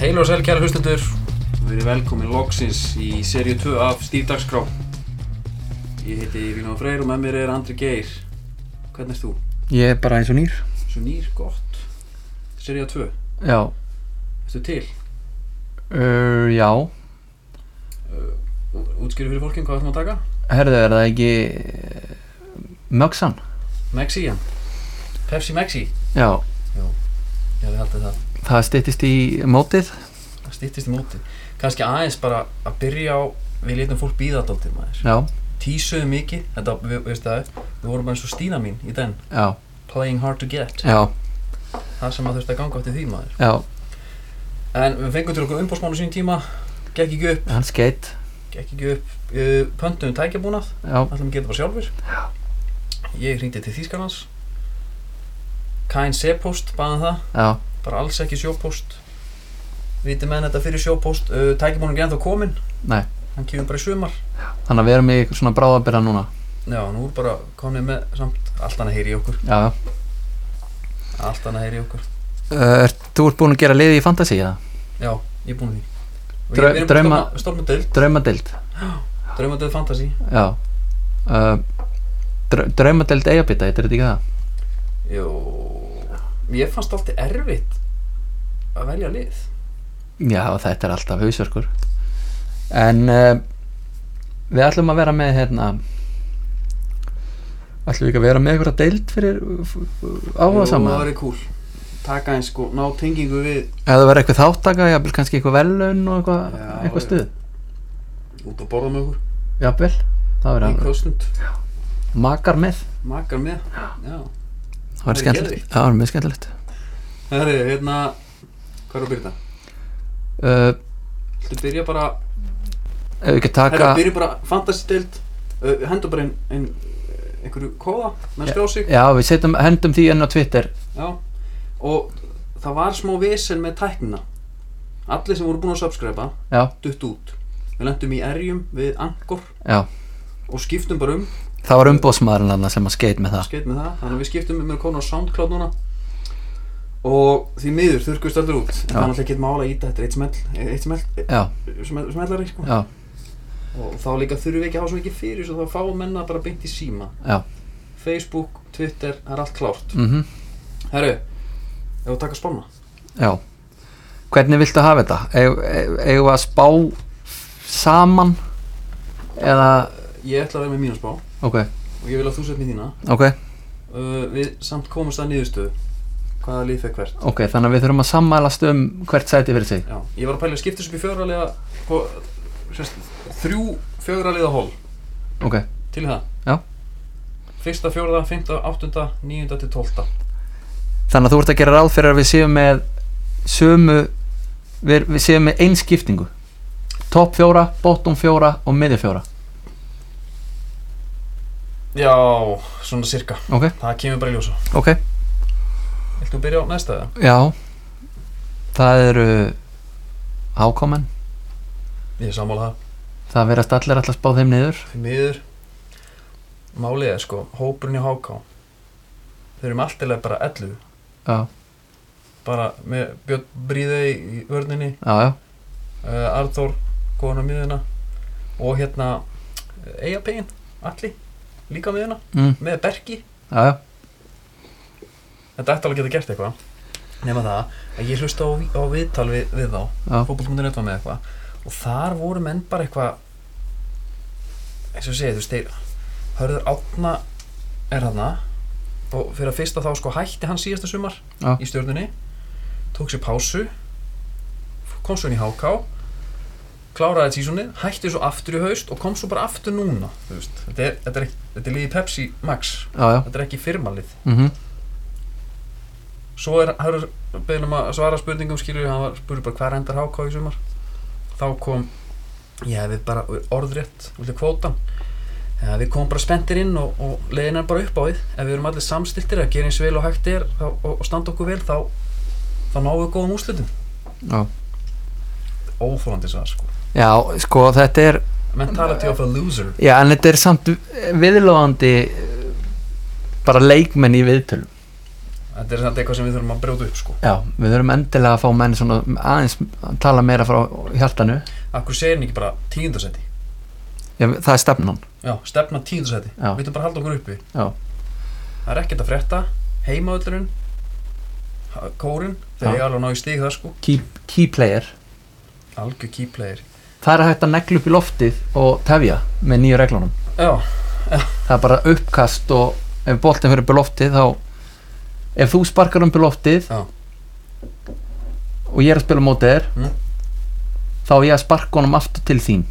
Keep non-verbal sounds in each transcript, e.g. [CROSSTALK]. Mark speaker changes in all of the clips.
Speaker 1: Heil og sæl kæra hlustendur
Speaker 2: Við erum velkomin loksins í seríu 2 af Stíf Dagskrá Ég heiti Viljóðan Freyr og með mér er Andri Geir Hvernig erst þú?
Speaker 3: Ég er bara eins og nýr
Speaker 2: Svo nýr, gott Seríu 2,
Speaker 3: Já,
Speaker 2: ertu til?
Speaker 3: uh, já
Speaker 2: Útskýri fyrir fólkin hvað ætlum að taka?
Speaker 3: Herðu, er það ekki eh, Möxan?
Speaker 2: Mexian Pepsi Mexi
Speaker 3: Já,
Speaker 2: Já, við haldum það
Speaker 3: það styttist í mótið
Speaker 2: Það stýttist í móti Kannski aðeins bara að byrja á Við letum fólk býða dálítið maður
Speaker 3: Já,
Speaker 2: Tísuðu mikið, þetta, við, veist það Við vorum bara eins og Stína mín í den
Speaker 3: já,
Speaker 2: Playing hard to get
Speaker 3: já,
Speaker 2: Það sem að þurfti að ganga átti því maður
Speaker 3: já
Speaker 2: En við fengum til okkur umbósmánu sín tíma Gekk ekki upp,
Speaker 3: Hann skeitt
Speaker 2: gekk ekki upp uh, Pöntum tækjabúnað,
Speaker 3: Já,
Speaker 2: ætlum að gera það bara sjálfur Ég hringdi til Þýskarnans Kain C-post, baðan það
Speaker 3: já,
Speaker 2: Bara alls ekki sjópost Viti menn þetta fyrir sjópost uh, Tækjabúnan er ennþá kominn
Speaker 3: nei
Speaker 2: Hann kemur bara í sumar
Speaker 3: Þannig að við erum í eitthvað svona bráðabyrra núna
Speaker 2: Já, nú er bara komnið með samt Allt annað heyri í okkur
Speaker 3: Já, já
Speaker 2: Allt annað heyri í okkur
Speaker 3: uh, er, Þú ert búin að gera liði í Fantasí, eða?
Speaker 2: Já, ég er búin að því Og
Speaker 3: Drau-
Speaker 2: ég- við erum bara að
Speaker 3: drauma-
Speaker 2: stofna- stofna deild,
Speaker 3: Draumadeild
Speaker 2: Draumadöð Fantasy
Speaker 3: Já uh, dra Draumadeild eigabita, þetta er þetta ekki það?
Speaker 2: Jó, ég fannst alltaf erfitt að velja lið.
Speaker 3: Já, þetta er alltaf hausverkur En uh, við ætlum að vera með hérna ætlum við ekki að vera með einhverja deild fyrir
Speaker 2: Jú,
Speaker 3: áhuga
Speaker 2: Það
Speaker 3: saman
Speaker 2: verið cool. Taka eins sko, ná tengingu við
Speaker 3: Ef það verður eitthvað þáttaka, jafnvel kannski eitthvað velun og eitthvað,
Speaker 2: Já,
Speaker 3: eitthvað
Speaker 2: já.
Speaker 3: stuð
Speaker 2: út að borða með okkur.
Speaker 3: Jafnvel, það
Speaker 2: Í
Speaker 3: verður
Speaker 2: kvöstund.
Speaker 3: hann makar með
Speaker 2: Makar með. Já.
Speaker 3: Það verður
Speaker 2: Það er
Speaker 3: skemmtilegt,
Speaker 2: geðveikt.
Speaker 3: það verður mjög skemmtilegt
Speaker 2: Herri, hérna, hvað er að byrja þetta?
Speaker 3: uh,
Speaker 2: Þú byrja bara,
Speaker 3: Ef við ekki
Speaker 2: herri,
Speaker 3: taka
Speaker 2: byrja bara fantasy deild, uh, hendur bara inn, inn eh, einhverju kóða, menn skjá sig.
Speaker 3: Já, við setjum, hendum því enn á Twitter
Speaker 2: Já. Og það var smá vesen með tæknina. Allir sem voru búin að subscriba,
Speaker 3: Já,
Speaker 2: dutt út. Við lendum í erjum við Angor
Speaker 3: já,
Speaker 2: og skiptum bara um
Speaker 3: það var umbóðsmaðurinn hann sem að skeit með það
Speaker 2: skeitt með það, þannig að við skiptum með mér konu á SoundCloud núna og því miður þurrkust allir út en
Speaker 3: Já.
Speaker 2: það er alltaf ekki mála í þetta, þetta er eitt smell eitt smell,
Speaker 3: Já,
Speaker 2: smell smellari sko.
Speaker 3: já,
Speaker 2: og þá líka þurfum við ekki að hafa svo mikið fyrir svo þá fáum menna bara beint í síma
Speaker 3: já,
Speaker 2: Facebook, Twitter, það er allt klárt
Speaker 3: mhm
Speaker 2: Herru, ef við taka spanna
Speaker 3: Já Hvernig viltu hafa þetta? Eigum eigum- eigum við að spá saman eða
Speaker 2: ég ætla að vera með mína spá og
Speaker 3: ok,
Speaker 2: ég vil að þú sett mér þína
Speaker 3: ok,
Speaker 2: uh, við samt komumst að niðurstöðu hvaða lið fekk hvert
Speaker 3: ok þannig að við þurfum að sammælast um hvert sæti fyrir sig
Speaker 2: Já, ég var að pæla að skipta þessu upp í fjögralega sko, sérst, þrjú fjögralega hól
Speaker 3: ok,
Speaker 2: Til í það?
Speaker 3: Já.
Speaker 2: Fyrsta, fjórða, fymta, áttunda, níunda til tólta
Speaker 3: þannig að þú ert að gera ráð fyrir að við séum með sömu við, við séum með einskiptingu topp fjóra, bottom fjóra og miðja fjóra
Speaker 2: Já, svona cirka
Speaker 3: ok,
Speaker 2: Það kemur bara í ljósa
Speaker 3: ok,
Speaker 2: Viltu byrja á næsta eða?
Speaker 3: já það eru hákomen,
Speaker 2: Ég er sammála það
Speaker 3: það verðast allir alltaf spá þeim niður
Speaker 2: Fyrir miður Málið er sko, hópurinn í HK Þeir eru alltilega bara 11
Speaker 3: já,
Speaker 2: Bara með Björn Bríðei í vörninni
Speaker 3: já, já,
Speaker 2: uh, Arþór, góðan á miðuna Og hérna Eyjapegin, Alli Líka á miðuna,
Speaker 3: mm,
Speaker 2: með Berki
Speaker 3: já, já
Speaker 2: Þetta ætti alveg að geta gert eitthvað Nefna það að ég hlusta á, á viðtal við, við þá
Speaker 3: Já.
Speaker 2: Fótboll.net var með eitthvað Og þar voru menn bara eitthvað eins og ég segi, þú veist, þeir Hörður Átna er hana og fyrir að fyrsta þá sko hætti hann síðasta sumar
Speaker 3: Já.
Speaker 2: í stjórnunni tók sér pásu kom svo inn í HK kláraði tísunni, hætti svo aftur í haust og kom svo bara aftur núna þú veist, þetta er, þetta er, ekki- þetta er liðið Pepsi Max
Speaker 3: já, já,
Speaker 2: þetta er ekki firmalið
Speaker 3: mhm
Speaker 2: Svo er Hörður beðin um að svara spurningum skilur, hann var spurði bara hver endar háká í sumar þá kom ég hefði bara orðrétt út í kvótan Já, við komum bara spenntir inn og, og leiðin er bara upp á því ef við erum allir samstiltir að gera eins vel og hægt er þá, og, og standa okkur vel þá, þá náum við góðum úrslitum
Speaker 3: Já.
Speaker 2: Óþólandi svar sko
Speaker 3: Já, sko þetta er
Speaker 2: Mentality of a loser
Speaker 3: Já, en þetta er samt viðlóðandi eh, bara leikmenn í viðtölum
Speaker 2: þetta er samt eitthvað sem við þurfum að brjóta upp sko.
Speaker 3: Já, við þurfum endilega að fá menn svona aðeins að tala meira frá hjartanu
Speaker 2: Akkur segir hann ekki bara tíundarsæti
Speaker 3: Já, það er stefnan
Speaker 2: Já, stefna tíundarsæti,
Speaker 3: Já.
Speaker 2: við þurfum bara að halda okkur uppi
Speaker 3: Já.
Speaker 2: Það er ekkert að frétta heimavöllurinn ha- kórinn,
Speaker 3: Já.
Speaker 2: þegar ég alveg að ná í stig það sko
Speaker 3: key, key player
Speaker 2: algjör key player
Speaker 3: Það er hægt að neglu upp í loftið og tefja með nýju reglunum
Speaker 2: Já,
Speaker 3: Það er bara uppkast og ef boltin fyrir upp í loftið þá ef þú sparkar um upp í loftið
Speaker 2: Já.
Speaker 3: og ég er að spila á móti þér
Speaker 2: Mm.
Speaker 3: þá er ég að sparka honum aftur til þín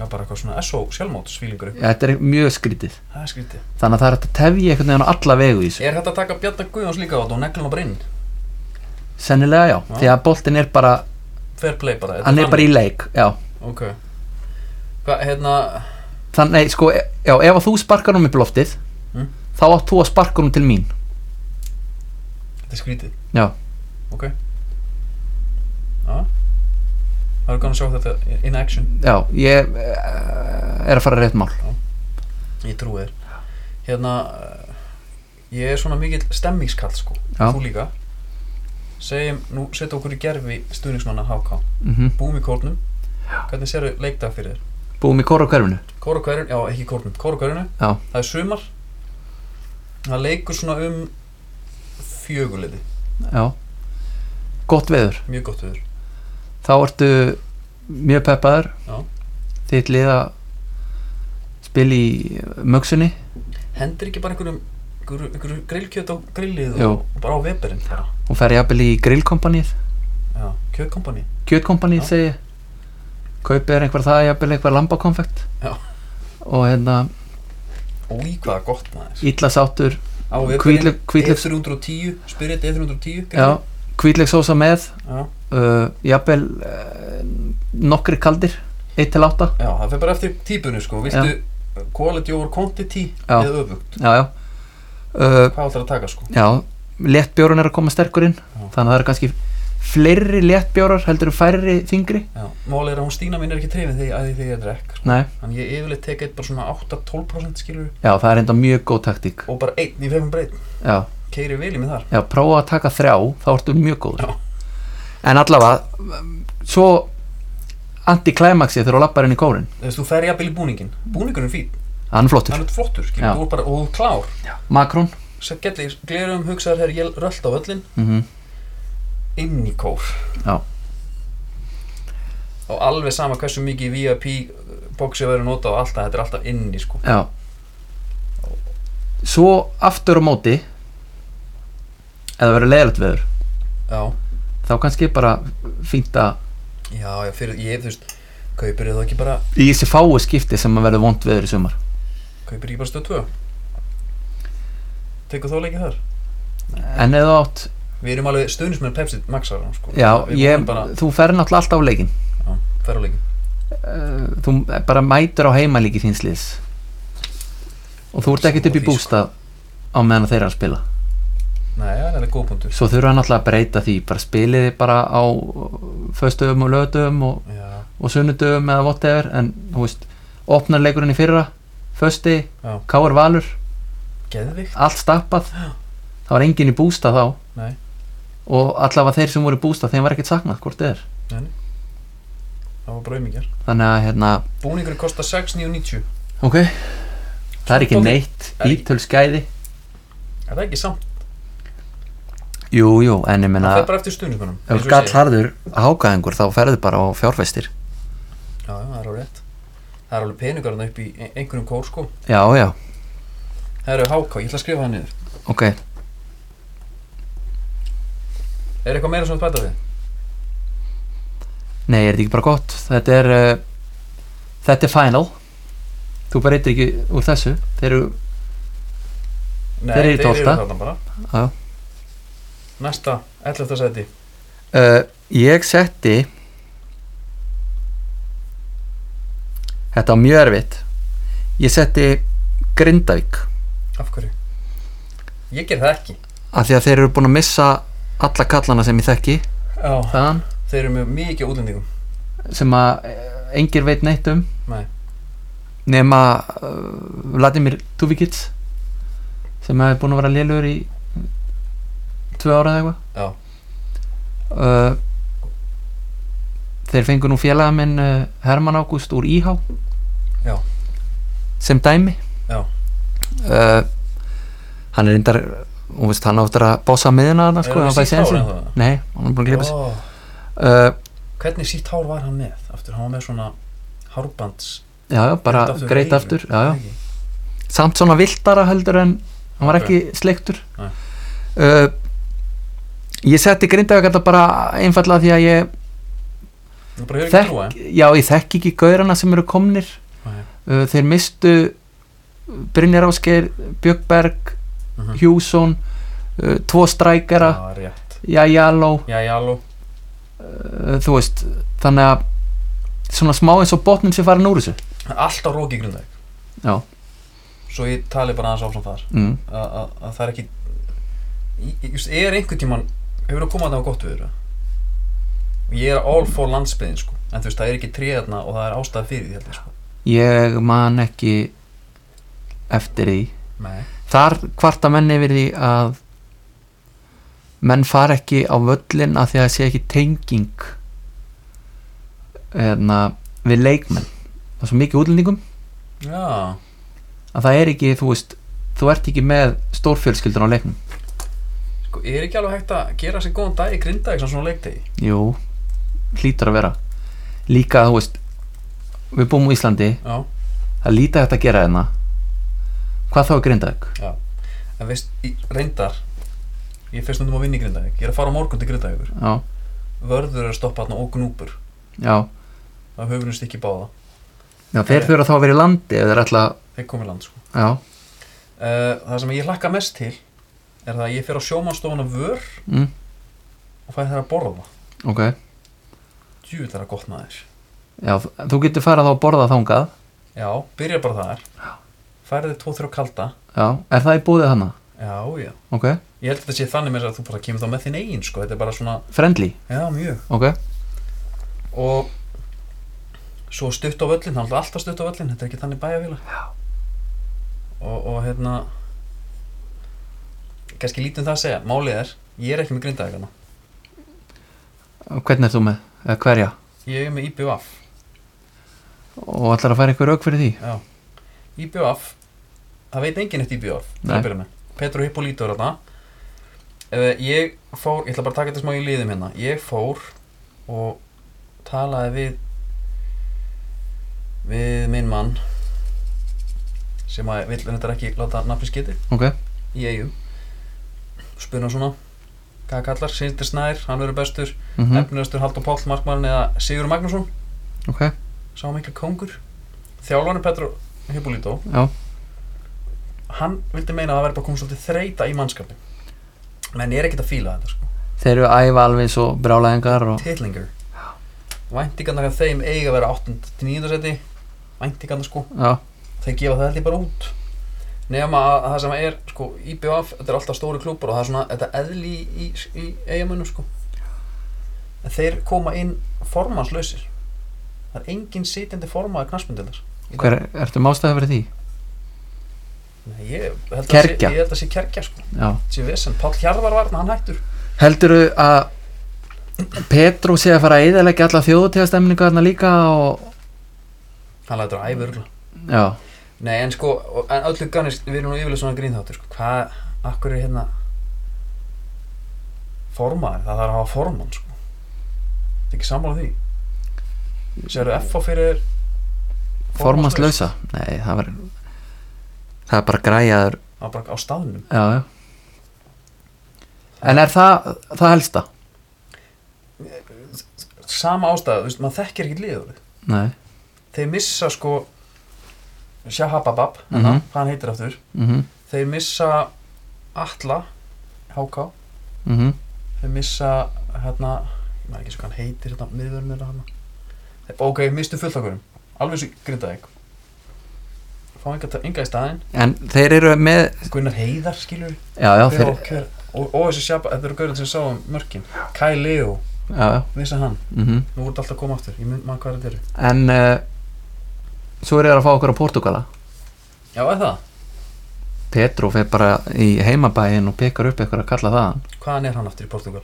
Speaker 2: já bara eitthvað svona SO sjálfmótsfílingur eitthvað,
Speaker 3: Þetta er mjög skrítið
Speaker 2: það er skrítið
Speaker 3: Þannig að það er hægt að tefja einhvern veginn á alla vegu í þessu
Speaker 2: Er þetta að taka Bjarnar Guðjóns líka á þetta og neglum á brinn?
Speaker 3: Sennilega já,
Speaker 2: Já.
Speaker 3: því að boltin er bara
Speaker 2: Fair play bara þetta
Speaker 3: hann er bara í leik já.
Speaker 2: þannig. Ok Hvað, hérna,
Speaker 3: þannig, sko, e- já, ef að þú sparkar hún upp í loftið
Speaker 2: Mm.
Speaker 3: þá átt þú að sparka hún til mín
Speaker 2: þetta er skrítið
Speaker 3: já,
Speaker 2: Ok Já Það er gaman að sjá þetta in action
Speaker 3: já, ég eh, er að fara rétt mál
Speaker 2: Ég trúi þér Hérna eh, Ég er svona mikill stemmingskall sko
Speaker 3: Já.
Speaker 2: Þú líka Segjum, nú setja okkur í gerfi stuðningsmanna HK
Speaker 3: mm
Speaker 2: Búum í kórnum Hvernig sérðu leikdag fyrir þér?
Speaker 3: búum í kóra hverfinu
Speaker 2: Kór og hverjun, já ekki kórnum Kór og hverjunu,
Speaker 3: Já.
Speaker 2: það er sumar Það leikur svona um Fjöguleiti,
Speaker 3: já. gott veður,
Speaker 2: mjög gott viður
Speaker 3: þá ertu mjög peppaður
Speaker 2: Já.
Speaker 3: þitt lið að spila í e, mögsunni
Speaker 2: Hendir ekki bara einhverjum einhverju, einhverju grillkjöt á grillið
Speaker 3: Jú.
Speaker 2: og, og bara á veberinn bara.
Speaker 3: og fer jafnvel í grillkompanið
Speaker 2: Já, kjötkompani
Speaker 3: kjötkompanið
Speaker 2: Já.
Speaker 3: segi ég. kaupið er einhver það, jafnvel einhver lambakonfekt
Speaker 2: Já.
Speaker 3: og hérna
Speaker 2: Úi, hvað er gott maður
Speaker 3: illa sáttur
Speaker 2: Á
Speaker 3: Hvítlauk-
Speaker 2: veberinn,
Speaker 3: hvítlauk-
Speaker 2: E310 Spirit E310
Speaker 3: já, hvítleiksósa með
Speaker 2: já
Speaker 3: uh, jafnvel uh, nokkri kaldir 1 til 8
Speaker 2: Já, það fyrir bara eftir típunni sko Viltu quality over quantity
Speaker 3: Já.
Speaker 2: eða öfugt
Speaker 3: já, já. Uh,
Speaker 2: Hvað ætlar að taka sko?
Speaker 3: já, léttbjórun er að koma sterkur inn þannig að það eru kannski fleiri léttbjórar heldur en færri þingri
Speaker 2: Já, mál er að hún Stína mín er ekki trefin þegar að því þegar ég drekk sko.
Speaker 3: Nei,
Speaker 2: Þannig ég yfirleitt tek eitt bara svona 8-12% skilur
Speaker 3: já, það er enda mjög góð taktík
Speaker 2: og bara einn í fefum breyt
Speaker 3: já,
Speaker 2: Keiri vel í mig þar
Speaker 3: já, prófa að taka þrjá þá ertu mjög góður
Speaker 2: Já.
Speaker 3: en allavega um, svo anti-climaxið þegar þú lappar inn í kórin
Speaker 2: Þú veist, þú fer jafnvel í búningin Búningurinn er fín,
Speaker 3: hann er flottur,
Speaker 2: hann er flottur skilur,
Speaker 3: Já.
Speaker 2: þú er bara, og þú er klár
Speaker 3: makrón
Speaker 2: Sætt gætli, glerum hugsaðar hér, ég rölt á öllin
Speaker 3: mm
Speaker 2: inn í kór
Speaker 3: Já.
Speaker 2: Og alveg sama hversu mikið VIP boxi eh, verður notað og alltaf, þetta er alltaf inni sko
Speaker 3: já svo aftur á móti eða verður leiðilegt veður
Speaker 2: Já
Speaker 3: þá kannski bara fínt að
Speaker 2: Já, já, fyrir, ég, þú veist, kaupir ég þá ekki bara,
Speaker 3: í þessi fáu skipti sem að verður vond veður í sumar
Speaker 2: kaupir ég ekki bara stöð 2 Tekur þá leikið þar Eh.
Speaker 3: en eða átt,
Speaker 2: Við erum alveg stuðnismenn Pepsi Maxar, sko
Speaker 3: já,
Speaker 2: Við
Speaker 3: ég,
Speaker 2: erum bara,
Speaker 3: þú ferð náttúrulega alltaf á leikin
Speaker 2: já, ferðarleikin
Speaker 3: Eh, þú bara mætur á heimalíki þín sliðs og þú ert ekkert upp í
Speaker 2: Sammála því,
Speaker 3: bústað á meðan að þeirra er að spila
Speaker 2: Nei, það er alveg góð punktur
Speaker 3: svo þurfa náttúrulega að breyta því bara spiliði bara á föstöfum og lögdöfum og
Speaker 2: Já,
Speaker 3: og sunnudöfum eða whatever en þú veist, opnar leikurinn í fyrra fösti,
Speaker 2: Já.
Speaker 3: káur valur
Speaker 2: geðvikt
Speaker 3: allt stappað
Speaker 2: Já.
Speaker 3: það var enginn í bústað þá
Speaker 2: Nei.
Speaker 3: og allavega þeir sem voru í bústað þeim var ekkert saknað hvort þið er
Speaker 2: Það var bara umingjar
Speaker 3: þannig að hérna,
Speaker 2: Búningurinn kostar 6,990
Speaker 3: ok það er ekki
Speaker 2: Svolítið.
Speaker 3: neitt,
Speaker 2: Er ekki-
Speaker 3: ítöl skæði
Speaker 2: Er það ekki samt?
Speaker 3: jú, jú, en ég menna
Speaker 2: Það er bara eftir stuðnismennum eins
Speaker 3: ef þú
Speaker 2: og ég
Speaker 3: gall
Speaker 2: segi.
Speaker 3: harður hákaðingur þá ferðu bara á fjárfæstir
Speaker 2: Já, já, það er alveg rétt Það er alveg peningar þarna upp í ein- einhverjum kór, sko
Speaker 3: já, já,
Speaker 2: Það eru háká, ég ætla að skrifa það niður
Speaker 3: ok
Speaker 2: Er eitthvað meira sem þú vilt bæta við?
Speaker 3: Nei, er þetta ekki bara gott? Þetta er uh, Þetta er final Þú bara reytir ekki úr þessu Þeir eru,
Speaker 2: Nei,
Speaker 3: Þeir eru í tólfta.
Speaker 2: þarna bara
Speaker 3: Já.
Speaker 2: Næsta, 11. seti
Speaker 3: uh, Ég setti Þetta var mjög erfitt Ég setti Grindavík
Speaker 2: Af hverju? Ég ger það ekki
Speaker 3: af því að þeir eru búin að missa alla kallana sem ég þekki
Speaker 2: Já
Speaker 3: þaðan
Speaker 2: Þeir eru með mikið útlendingum
Speaker 3: sem að eh, engir veit neitt um eh,
Speaker 2: Nei.
Speaker 3: nema uh, Vladimir Tuvikits sem hefði búin að vera lélugur í tvö ára eða eitthvað
Speaker 2: já,
Speaker 3: uh, þeir fengu nú félaga minn uh, Herman Ágúst úr Íhá
Speaker 2: Já.
Speaker 3: sem dæmi
Speaker 2: Já.
Speaker 3: uh, hann er reyndar hún veist hann áttur að bossa miðina hann sko,
Speaker 2: Er hann
Speaker 3: hann
Speaker 2: með
Speaker 3: fæði
Speaker 2: sítt hár
Speaker 3: sensin
Speaker 2: ennþá?
Speaker 3: nei, hann er búin að gleypa sig
Speaker 2: Ó,
Speaker 3: uh,
Speaker 2: hvernig sítt hár var hann með aftur, hann var með svona hárbands
Speaker 3: já, já, bara
Speaker 2: Greitt aftur,
Speaker 3: greit
Speaker 2: eiginlega.
Speaker 3: aftur já, já.
Speaker 2: Ekki?
Speaker 3: samt svona viltara heldur en hann var
Speaker 2: Ok.
Speaker 3: ekki sleiktur
Speaker 2: Nei.
Speaker 3: uh, ég setti grindavík þetta bara einfallega því að ég
Speaker 2: þú bara hefur ekki trúa
Speaker 3: þekk, já, ég þekk ekki gaurana sem eru komnir
Speaker 2: Nei.
Speaker 3: uh, þeir mistu Brynjar Ásgeir, Bjökberg
Speaker 2: Mhm.
Speaker 3: Hjússon uh, tvo strækjara,
Speaker 2: Já, rétt
Speaker 3: Jajaló
Speaker 2: já, já, alveg
Speaker 3: uh, þú veist, þannig að svona smá eins og botnin sem farin úr þessu
Speaker 2: alltaf rók í grundæk
Speaker 3: Já.
Speaker 2: svo ég tali bara aðeins áfram þar
Speaker 3: mm.
Speaker 2: að að- að það er ekki Í- í- just, er einhvern tíman hefur þú komað það á gott viður ég er all for landsbyðin sko. en þú veist það er ekki tréðna og það er ástæð fyrir því held ég, sko.
Speaker 3: ég man ekki eftir því
Speaker 2: Nei.
Speaker 3: þar kvarta menn yfir því að menn fara ekki á völlin af því að það sé ekki tenging eðna, við leikmenn það er svo mikið útlendingum
Speaker 2: já,
Speaker 3: að það er ekki, þú veist þú ert ekki með stórfjölskyldur á leiknum
Speaker 2: sko, er ekki alveg hægt að gera sér góðan dag í grundæk svona svona leiktegi
Speaker 3: jú, hlýtur að vera líka, þú veist við búum á Íslandi,
Speaker 2: já.
Speaker 3: það er lítið hægt að gera hérna hvað þá er grindaðug?
Speaker 2: en veist, í, reyndar ég fyrst stundum að vinna í grundæk ég er að fara á morgun til grundæk
Speaker 3: já,
Speaker 2: vörður er að stoppa hann og gnúpur
Speaker 3: já,
Speaker 2: það höfum við stikki báða
Speaker 3: já þeir þurfa þá að vera í landi ef þeir ætla, að-
Speaker 2: þeir komið land sko.
Speaker 3: já,
Speaker 2: uh, það sem ég hlakka mest til er það að ég fer á sjómanstofuna vör
Speaker 3: mm,
Speaker 2: og fæ þeirra að borða
Speaker 3: ok
Speaker 2: djúvill er það gott maður
Speaker 3: Já, þú getur farað á að borða þangað
Speaker 2: já, byrja bara þar færið þið tvo þrjá kalda
Speaker 3: Já, er það í búðið hana?
Speaker 2: já, já
Speaker 3: Ok,
Speaker 2: ég held að þetta sé þannig með þess að þú bara kemur þá með þinn eigin sko. þetta er bara svona,
Speaker 3: friendly,
Speaker 2: já mjög
Speaker 3: ok
Speaker 2: og svo stutt á völlin, það er alltaf stutt á völlin þetta er ekki þannig bæjarvila og, og hérna kannski lítið um það að segja málið er, ég er ekki með grindaðegana
Speaker 3: Hvernig ert þú með? Eða hverja?
Speaker 2: ég er með IBF
Speaker 3: Og ætlar að færa ykkur auk fyrir því?
Speaker 2: Já, IBF það veit enginn eitt IBF
Speaker 3: Nei.
Speaker 2: Petru Hippolito er þarna Eh, ég fór, ég ætla bara að taka þetta smá í liðum hérna ég fór og talaði við við minn mann sem að vill en þetta er ekki láta nafni skiti
Speaker 3: Ok,
Speaker 2: í E eigum spuna svona hvað kallar, Sindri Snær, hann verður bestur mm.
Speaker 3: mm
Speaker 2: efnilegastur Haldur Páll Markmann eða Sigur Magnússon
Speaker 3: ok,
Speaker 2: sá miklu kongur þjálfarni Petru Hippolito
Speaker 3: já,
Speaker 2: hann vildi meina að það væri bara komið svolítið þreita í mannskapin menn ég er ekkert að fíla þetta sko.
Speaker 3: þeir eru að æfa alveg eins og brálaðingar og
Speaker 2: Tillingur væntingarnar að þeim eiga að vera 8-9 seti væntingarnar sko
Speaker 3: Já,
Speaker 2: þeir gefa það held ég bara út nema að að það sem er sko IBF, þetta er alltaf stóri klúpur og það er svona þetta eðli í, í, í eigamönnum sko en þeir koma inn formanslausir það er engin sitjandi formaði knarsmyndildar
Speaker 3: hver, ertu mástæði fyrir því?
Speaker 2: ég held að sé-
Speaker 3: Kergja.
Speaker 2: ég held að sé kerkja sko
Speaker 3: Já
Speaker 2: sé vesen, Páll Hjarðar var þarna, hann hættur
Speaker 3: Heldurðu að Petrú sé að fara að eðalegja alla þjóðutegastemningu þarna líka og
Speaker 2: hann lætur að æfa örgla
Speaker 3: Já,
Speaker 2: Nei, en sko, og- en öllu ganist, við erum nú yfirlega svona grínþáttur, sko, hvað, akkur er hérna formaður, það þarf að hafa formann, sko. Það er ekki sammála því. Sérðu F á fyrir formannslaust?
Speaker 3: formannslausa Nei, það var Það er bara græjaður
Speaker 2: Það var bara á staðnum.
Speaker 3: Já, já En er það, það helsta?
Speaker 2: Sama ástæðu, þú veist, maður þekkir ekki liður.
Speaker 3: Nei
Speaker 2: Þeir missa, sko, Shahababab, mm
Speaker 3: Mhm.
Speaker 2: hvað hann heitir aftur.
Speaker 3: mhm,
Speaker 2: Þeir missa Atla, HK,
Speaker 3: mhm,
Speaker 2: þeir missa hérna, ég maður ekki svo hvað hann heitir hérna, miðvörn er hérna þeir, ok, mistu fulltakurum, alveg svo grindaðið fá enga, enga í staðinn
Speaker 3: En þeir eru með
Speaker 2: Gunnar Heiðar skilur
Speaker 3: Já, já,
Speaker 2: hver,
Speaker 3: þeir
Speaker 2: á- hver, og, og þessi sjapa, þetta eru gaurinn sem sá um mörkin Kai Leo,
Speaker 3: Já, já,
Speaker 2: missa hann
Speaker 3: mhm
Speaker 2: nú voru þetta alltaf að koma aftur, ég mynd maður hvað þetta eru
Speaker 3: En eh, uh, svo eru þeir að fá okkur á Portugala
Speaker 2: já, eða það,
Speaker 3: Petró fer bara í heimabæin og pekar upp eitthvað að kalla þaðan
Speaker 2: Hvaðan er hann aftur í Portugal?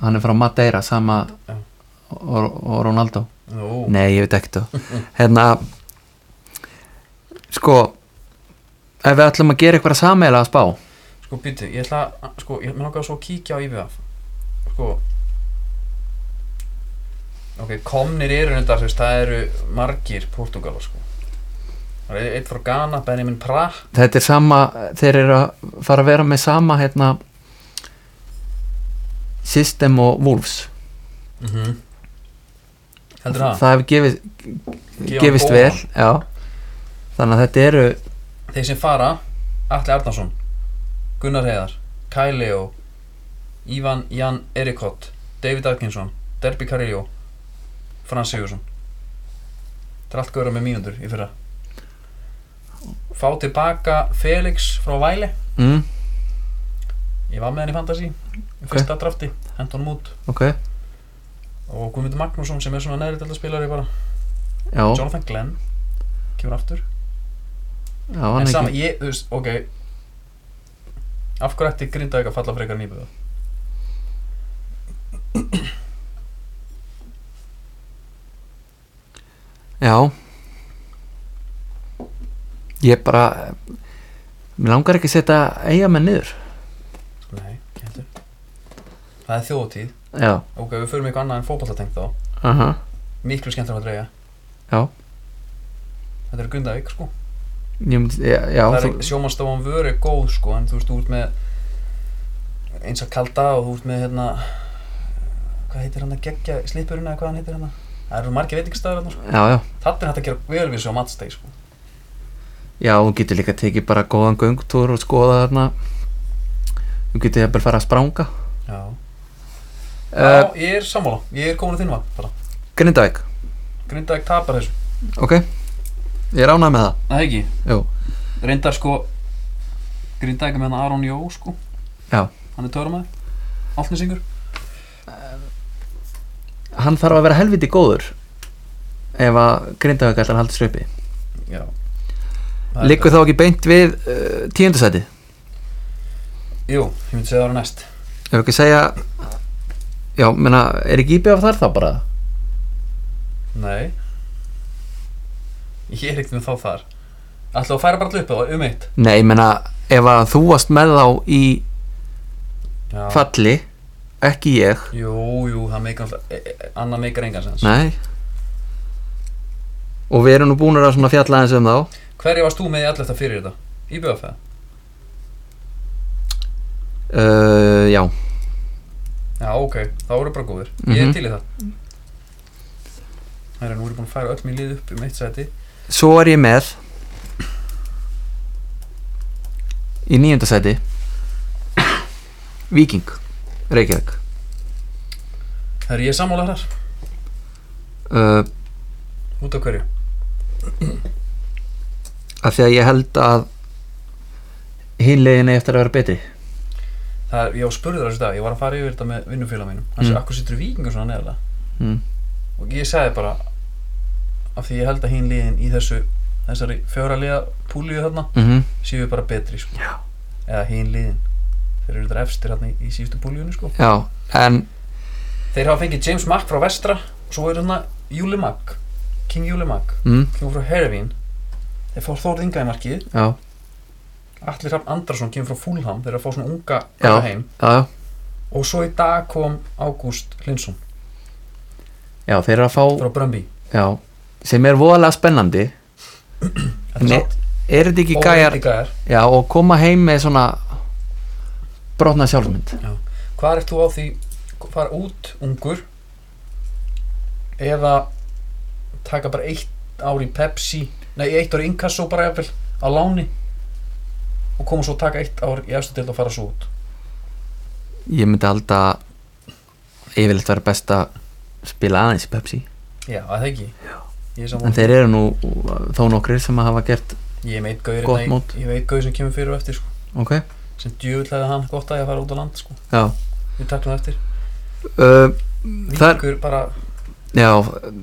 Speaker 3: hann er frá Madeira, sama
Speaker 2: Já.
Speaker 3: og, og Ronaldo
Speaker 2: Nú,
Speaker 3: Nei, ég veit ekkert það Hérna Sko Ef við ætlum að gera eitthvað sameiginlega að spá
Speaker 2: sko býtu, ég ætla að, sko, ég mér langar svo að kíkja á IVF sko ok, komnir eru þetta, þú veist, það eru margir Portugala, sko það er eitt frá Ghana, Benjamin Pratt
Speaker 3: Þetta er sama, þeir eru að fara að vera með sama hérna System og Wolves
Speaker 2: mm -hmm. heldur það?
Speaker 3: hefur gefist,
Speaker 2: Gefa
Speaker 3: gefist
Speaker 2: góðan.
Speaker 3: vel já. Þannig að þetta eru
Speaker 2: þeir sem fara, Atli Arnarsson Gunnar Heiðar, Kai Leo Ivan Jan Erikott David Atkinson, Derby Carrillo Frans Sigursson þetta er allt góður með mínútur í fyrra fá tilbaka Felix frá Væli
Speaker 3: mm,
Speaker 2: ég var með hann í Fantasí í fyrsta drafti, hend honum út
Speaker 3: Ok,
Speaker 2: og Guðmundur Magnússon sem er svona neðri delta spilari bara
Speaker 3: já,
Speaker 2: Jonathan Glenn kemur aftur
Speaker 3: já hann
Speaker 2: en
Speaker 3: er
Speaker 2: saman,
Speaker 3: ekki
Speaker 2: ég, þú veist, ok af hverju ætti Grindavík að falla frekar nýbuða?
Speaker 3: Já Ég bara Mér langar ekki að setja eiga með niður
Speaker 2: Nei, ekki heldur Það er þjóðtíð
Speaker 3: Já,
Speaker 2: Ok, við förum eitthvað annað en fótballatengt þá
Speaker 3: aha
Speaker 2: Miklu skemmtilega að dreyja
Speaker 3: Já.
Speaker 2: Þetta er Gundavík sko
Speaker 3: Ég myndi, já, já
Speaker 2: Það er
Speaker 3: þú,
Speaker 2: ekki, sjómanstofan vöru er góð sko En þú veist, þú ert með Eins að kalda og þú ert með hérna Hvað heitir hann að geggja Slipurinn eða hvað hann heitir hann Það eru margir veitingstæður hann sko
Speaker 3: já, já,
Speaker 2: Þetta er hægt að gera vel við svo matsteg sko
Speaker 3: já, þú getur líka tekið bara góðan göngtúr og skoða þarna þú getur jafnvel fara að spranga
Speaker 2: Já
Speaker 3: uh,
Speaker 2: Já, ég er sammála Ég er komin að þínva bara
Speaker 3: Grindavík,
Speaker 2: Grindavík tapar þessu
Speaker 3: ok ég er ánægð með það
Speaker 2: Það ekki
Speaker 3: Jú.
Speaker 2: Reyndar sko Grindavík er með hann Aron Jó sko
Speaker 3: Já.
Speaker 2: Hann er törmaður Altnesingur
Speaker 3: hann þarf að vera helviti góður ef að Grindavík ætlar að halda sér uppi
Speaker 2: Já
Speaker 3: liggur þá ekki beint við uh, tíundasæti
Speaker 2: Jú, ég myndi segja það var næst
Speaker 3: ef ekki segja já, menna, er ekki íbjöf þar þá bara
Speaker 2: Nei Ég er ekkert með þá þar Ætla að færa bara allu upp eða um eitt
Speaker 3: nei, menna, ef að þú varst með þá í
Speaker 2: Já
Speaker 3: falli ekki ég,
Speaker 2: Jú, jú, það meikar alltaf e, e, Annað meikar engan sens
Speaker 3: Nei Og við erum nú búin að svona fjalla aðeins um þá
Speaker 2: Hverja varst þú með í allu þetta fyrir þetta? Í BFF?
Speaker 3: uh, Já,
Speaker 2: Já, ok, þá voru bara góðir Ég er
Speaker 3: Mhm.
Speaker 2: til í það Það er að nú erum búin að færa öll mér lið upp um eitt seti
Speaker 3: svo er ég með Í níunda sæti Víking Reykjavík
Speaker 2: Það er ég sammála þar
Speaker 3: uh,
Speaker 2: Út af hverju?
Speaker 3: Af því að ég held að Hinlegin eftir að vera betri
Speaker 2: Það er, ég spurði þessu dag, ég var að fara yfir þetta með vinnufélag mínum Hann sagði,
Speaker 3: Mm.
Speaker 2: akkur sittur vikingur svona neðarlega
Speaker 3: mm.
Speaker 2: Og ég sagði bara Af því ég held að hinn liðin í þessu Þessari fjóra liða púliðu þarna
Speaker 3: Mm
Speaker 2: Séu bara betri, sko
Speaker 3: Já.
Speaker 2: Eða hinn liðin Þeir eru þetta efstir þarna í, í síðustu púliðinu, sko
Speaker 3: Já, en
Speaker 2: Þeir hafa fengið James Mack frá vestra Og svo er þarna Júli Mack King Júli Mack
Speaker 3: mm,
Speaker 2: Kemur frá Hervín Þeir fá Þórð Inga í markið
Speaker 3: Já,
Speaker 2: Allir Rafn Andrason kemur frá Fúlham Þeir eru að fá svona unga
Speaker 3: Já.
Speaker 2: gæja heim
Speaker 3: já, já
Speaker 2: Og svo í dag kom Ágúst Linsson
Speaker 3: Já, þeir eru að fá
Speaker 2: frá Brömbi
Speaker 3: Já, sem er voðalega spennandi Nei, Er þetta ekki gæjar
Speaker 2: gæjar
Speaker 3: Já, og koma heim með svona brotna sjálfmynd
Speaker 2: Hvað ert þú á því fara út ungur eða taka bara eitt ár í Pepsi nei, eitt ár í Inkasso bara jafnvel á láni og koma svo að taka eitt ár í efstu deild og fara svo út
Speaker 3: Ég myndi halda að yfirleitt verið best að spila aðeins í Pepsi
Speaker 2: Já, að það ekki Ég er
Speaker 3: En
Speaker 2: sammála.
Speaker 3: þeir eru nú þó nokkrir sem að hafa gert
Speaker 2: Ég veit
Speaker 3: Gott
Speaker 2: gauðir
Speaker 3: mót.
Speaker 2: Ég veit gauðir sem kemur fyrir og eftir sko.
Speaker 3: Ok,
Speaker 2: sem djöfull hefði hann gott að ég að fara út á land sko.
Speaker 3: já
Speaker 2: Við taklum það eftir
Speaker 3: uh, Það er,
Speaker 2: Víkur bara
Speaker 3: já,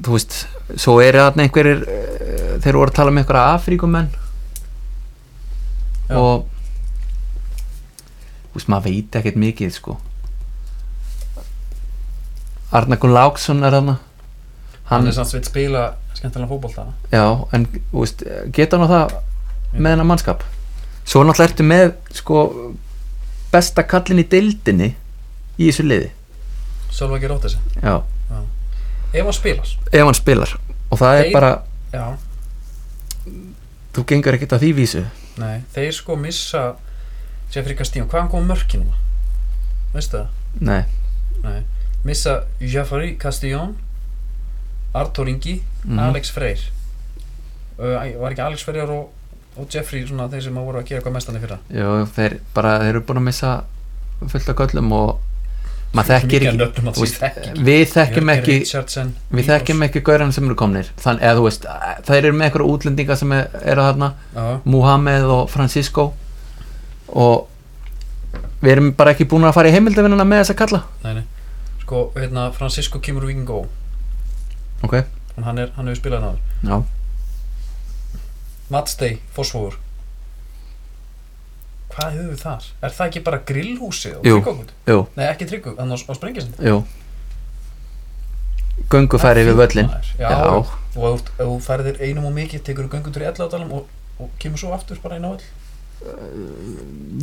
Speaker 3: þú veist Svo eru þarna eh, um einhverjir uh, Þeir voru að tala með einhverja afríkumenn
Speaker 2: Já.
Speaker 3: Og þú veist, maður veit ekkert mikið sko Arnar Gunnlaugsson er hann
Speaker 2: hann er samt sveit spila skemmtilega fótbolta
Speaker 3: Já, en þú veist, geta hann á það með hennar mannskap Svo náttúrulega ertu með sko, besta kallin í deildinni í þessu liði
Speaker 2: Sölva ekki rótt þessi
Speaker 3: Já,
Speaker 2: ef hann spilar
Speaker 3: ef hann spilar og það er
Speaker 2: Þeir-
Speaker 3: bara,
Speaker 2: já,
Speaker 3: þú gengur ekkert að því vísu
Speaker 2: nei, þeir sko missa Jeffrey Castillo, hvaðan kom mörkin núna? veistu það?
Speaker 3: Nei,
Speaker 2: Nei. missa Jeffrey Castillo Artur Ingi
Speaker 3: Mhm.
Speaker 2: Alex Freyr uh, æ, var ekki Alex Freyr og, og Jeffrey svona þeir sem voru að gera eitthvað mestandi fyrir
Speaker 3: jú, þeir bara þeir eru búin að missa fullt af köllum og maður þekkir ekki
Speaker 2: nöfnum að því
Speaker 3: þú veist,
Speaker 2: þekkir
Speaker 3: við þekkjum
Speaker 2: Jörgen
Speaker 3: ekki
Speaker 2: Richardson,
Speaker 3: við þekkjum ekki gauran sem eru komnir þannig eða þú veist, þeir eru með einhverja útlendinga sem er- eru þarna
Speaker 2: Já,
Speaker 3: Muhammed og Francisco og við erum bara ekki búin að fara í heimildavinnuna með þess að kalla
Speaker 2: nei, nei. sko, hérna, Francisco Kimur Wingo
Speaker 3: ok,
Speaker 2: en hann, er, hann hefur spilað náður
Speaker 3: já,
Speaker 2: Matstey, Fossvogur Hvað höfum við þar? Er það ekki bara grillhúsið og
Speaker 3: Jú.
Speaker 2: tryggokund?
Speaker 3: jú,
Speaker 2: Nei, ekki tryggu, þannig á, á sprengisinn
Speaker 3: jú göngu færi við völlin
Speaker 2: Já,
Speaker 3: já,
Speaker 2: og ef þú- ef þú færðir einum og mikið, tekur þú göngundur í elladalum og, og kemur svo aftur bara inn á öll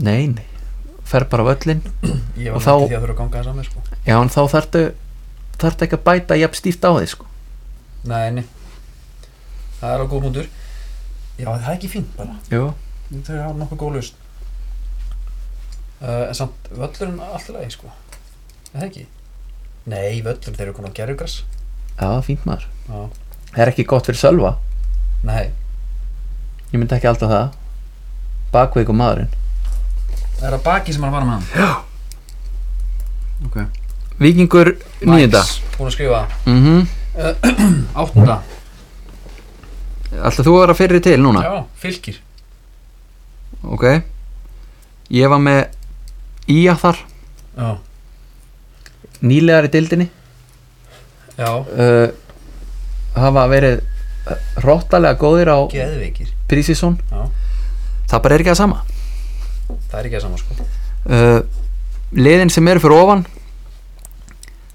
Speaker 3: nein fer bara á völlin,
Speaker 2: Ég
Speaker 3: Og
Speaker 2: var
Speaker 3: þá-
Speaker 2: náttið því að þurfa að ganga þess að mér sko
Speaker 3: já en þá þarftu þarftu ekki að bæta jafn stíft á því sko
Speaker 2: Nei, nei Það er á góð múndur Já, það er ekki fínt bara
Speaker 3: jú,
Speaker 2: Þau hafa nokkuð góð laust uh, En samt, völlurinn allt í lagi sko Er það ekki? Nei, völlurinn, þeir eru komin á gerjugras
Speaker 3: já, fínt maður
Speaker 2: Já,
Speaker 3: það er ekki gott fyrir sölva,
Speaker 2: nei
Speaker 3: ég myndi ekki alltaf það bakveik og maðurinn
Speaker 2: Það er að baki sem hann var með hann Já Ok
Speaker 3: vikingur nýjunda
Speaker 2: Búin að skrifa
Speaker 3: mm
Speaker 2: Áttunda
Speaker 3: alltaf þú var að fyrir til núna
Speaker 2: Já, fylgir
Speaker 3: Ok Ég var með Ía þar
Speaker 2: Já
Speaker 3: Nýlegar í dildinni
Speaker 2: Já
Speaker 3: uh, Hafa verið uh, Hróttalega góðir á
Speaker 2: Geðveikir
Speaker 3: prísísón
Speaker 2: Já
Speaker 3: Það bara er ekki að sama
Speaker 2: Það er ekki að sama sko
Speaker 3: uh, Liðin sem eru fyrir ofan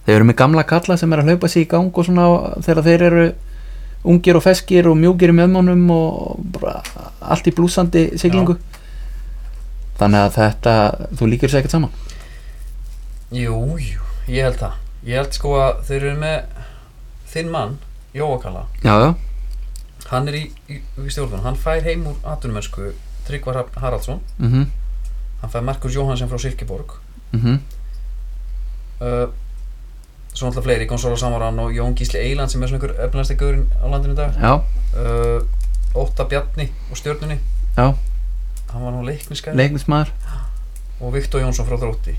Speaker 3: Þeir eru með gamla kalla sem eru að hlaupa sig í gang og svona þegar þeir eru ungir og feskir og mjúkir í möðmónum og bara allt í blúsandi siglingu Þannig að þetta, þú líkir sér ekkert saman
Speaker 2: Jú, jú Ég held það Ég held sko að þeir eru með Þinn mann Jóakalla
Speaker 3: Já, já,
Speaker 2: Hann er í, í, í stjórnum Hann fær heim úr atvinnumennsku Tryggvar Hrafn Haraldsson
Speaker 3: mhm, mhm
Speaker 2: Hann fær Markus Jóhansson frá Silkeborg uh, Svo náttúrulega fleiri Gonzalo Samaran og Jón Gísli Eiland sem er svona ykkur öfnæsti gaurinn á landinu í dag
Speaker 3: Já,
Speaker 2: uh, Óta Bjarni og stjörnunni
Speaker 3: Já.
Speaker 2: hann var nú leikniskar
Speaker 3: leiknismæður
Speaker 2: og Viktor Jónsson frá þrótti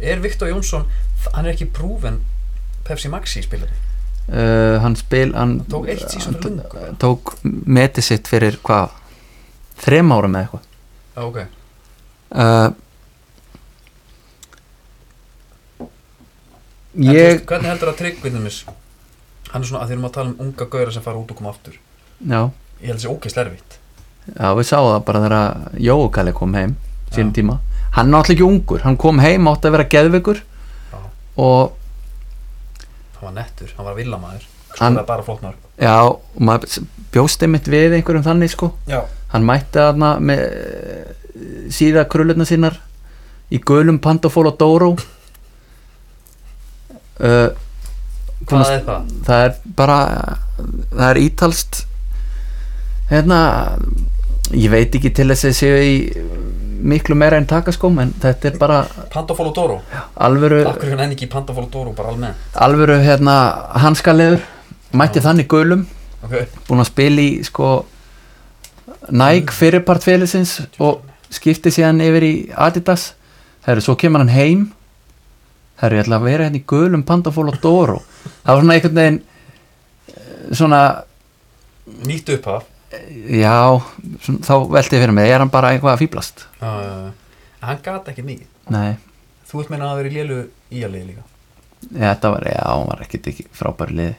Speaker 2: er Viktor Jónsson þ- hann er ekki prúven Pepsi Maxi spilari
Speaker 3: uh, hann spil hann
Speaker 2: Hann tók eitt síðan fyrir lungu
Speaker 3: hann tók metið sitt fyrir hvað þrem árum eða
Speaker 2: já ok
Speaker 3: eitthvað uh,
Speaker 2: En þú
Speaker 3: ég
Speaker 2: veist, hvernig heldur að tryggvindumis hann er svona að því erum að tala um unga gauðra sem fara út og koma aftur
Speaker 3: já,
Speaker 2: ég held þessi ógeðslega erfitt
Speaker 3: já, við sáum það bara þegar Jókali kom heim sínum
Speaker 2: Já.
Speaker 3: tíma hann er náttúrulega ekki ungur, hann kom heim átti að vera geðveikur
Speaker 2: Já.
Speaker 3: og
Speaker 2: hann var nettur, hann var að vilja maður
Speaker 3: Hann-
Speaker 2: hann var bara flott maður
Speaker 3: já, og maður bjóst einmitt við einhverjum þannig sko
Speaker 2: já
Speaker 3: hann mætti þarna með eh, síða krullurna sínar í gulum pantofól og dóró
Speaker 2: [LAUGHS]
Speaker 3: uh,
Speaker 2: hvað er það?
Speaker 3: það er bara það er ítalst hérna ég veit ekki til þess að séu í miklu meira en takaskóm en þetta er bara
Speaker 2: Pantofolo Doro
Speaker 3: alvöru,
Speaker 2: akkur hann enn ekki í Pantofolo Doro bara almenn
Speaker 3: alvöru hérna, hanskalegur mætti þannig gulum
Speaker 2: ok
Speaker 3: búin að spila í sko Nike fyrirpart félagsins og skipti síðan yfir í Adidas herru, svo kemur hann heim herru, ég ætla að vera hérna í gulum Pantafól og Doro það var svona einhvern veginn eh, svona,
Speaker 2: nýtt upphaf
Speaker 3: já svona, þá velti ég fyrir mig, er hann bara eitthvað að fýblast
Speaker 2: já já já hann gat ekki mikið
Speaker 3: nei,
Speaker 2: Þú ert meina að vera í lélu í að liði líka
Speaker 3: ja, þetta var, já, hann var ekkert ekki frábæri liði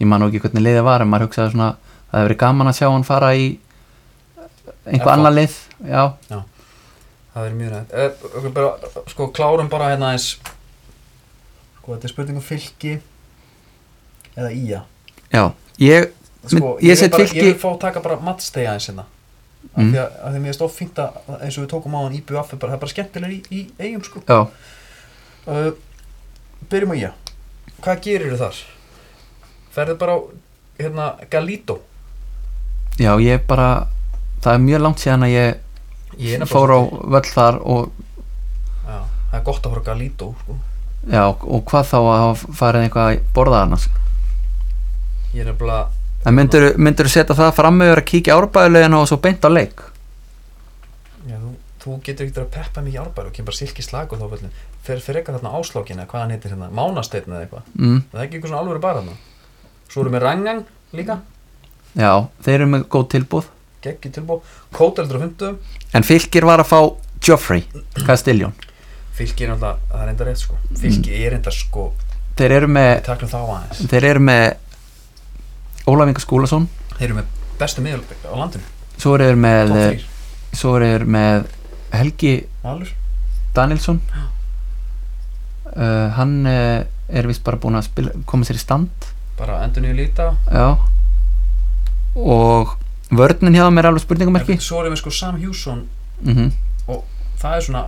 Speaker 3: ég man nú ekki hvernig liðið var en maður hugsaði svona, það hefur verið gaman að sjá hann fara í einhver
Speaker 2: FH.
Speaker 3: annar lið já,
Speaker 2: Já. það verður mjög nægt eh, ok, bara, sko klárum bara hérna eins sko þetta er spurning um fylki eða ía
Speaker 3: Já, ég,
Speaker 2: sko,
Speaker 3: Ég set
Speaker 2: vil bara,
Speaker 3: Fylki-
Speaker 2: ég vil fá að taka bara matstegi aðeins hérna af
Speaker 3: Mm.
Speaker 2: því að, af því að mér er stóð fínt að eins og við tókum á hann íbjöð aftur bara, það er bara skemmtilega í, í eigum sko
Speaker 3: já,
Speaker 2: uh, byrjum á ía hvað gerir þar? ferðu bara á hérna Galito
Speaker 3: já, ég bara það er mjög langt síðan að
Speaker 2: Ég
Speaker 3: ég
Speaker 2: er nefnilega
Speaker 3: fór á
Speaker 2: svolítið-
Speaker 3: völl þar og,
Speaker 2: já, það er gott að horfa á Galito sko.
Speaker 3: já, og hvað þá að hafa farið eitthvað að borða þarna sko.
Speaker 2: ég er nefnilega
Speaker 3: en myndur, myndur setja það fram yfir að kíkja árbæðulegin og svo beint á leik
Speaker 2: Já, þú, þú getur ekkert að peppa mikið árbæru og kemur bara silki slagur þá völlin fer, fer eitthvað þarna áslókin eða hvað hann heitir hérna mánasteinn eða eitthvað
Speaker 3: mm,
Speaker 2: það er ekki eitthvað svona alvöru bara þarna svo erum við rangang líka
Speaker 3: já, þeir eru með góð tilbúð
Speaker 2: geggi tilbú kóteldur á 50
Speaker 3: en fylgir var að fá Joffrey Castelljón,
Speaker 2: fylki er alltaf það er enda rétt sko fylki er enda sko
Speaker 3: þeir eru
Speaker 2: við
Speaker 3: með
Speaker 2: taklum þá aðeins
Speaker 3: þeir eru með Ólaf Inga Skúlason
Speaker 2: þeir eru með bestu miðjálp á landinu
Speaker 3: svo eru þeir með
Speaker 2: top 3
Speaker 3: svo eru þeir með Helgi
Speaker 2: valur
Speaker 3: Danielsson uh, hann uh, er vist bara búin að spila, koma sér í stand
Speaker 2: bara endur nýju líta
Speaker 3: já og vörnin hjá þeim er alveg spurningamarki
Speaker 2: svo erum við sko Sam Hjússon
Speaker 3: mm -hmm.
Speaker 2: það er svona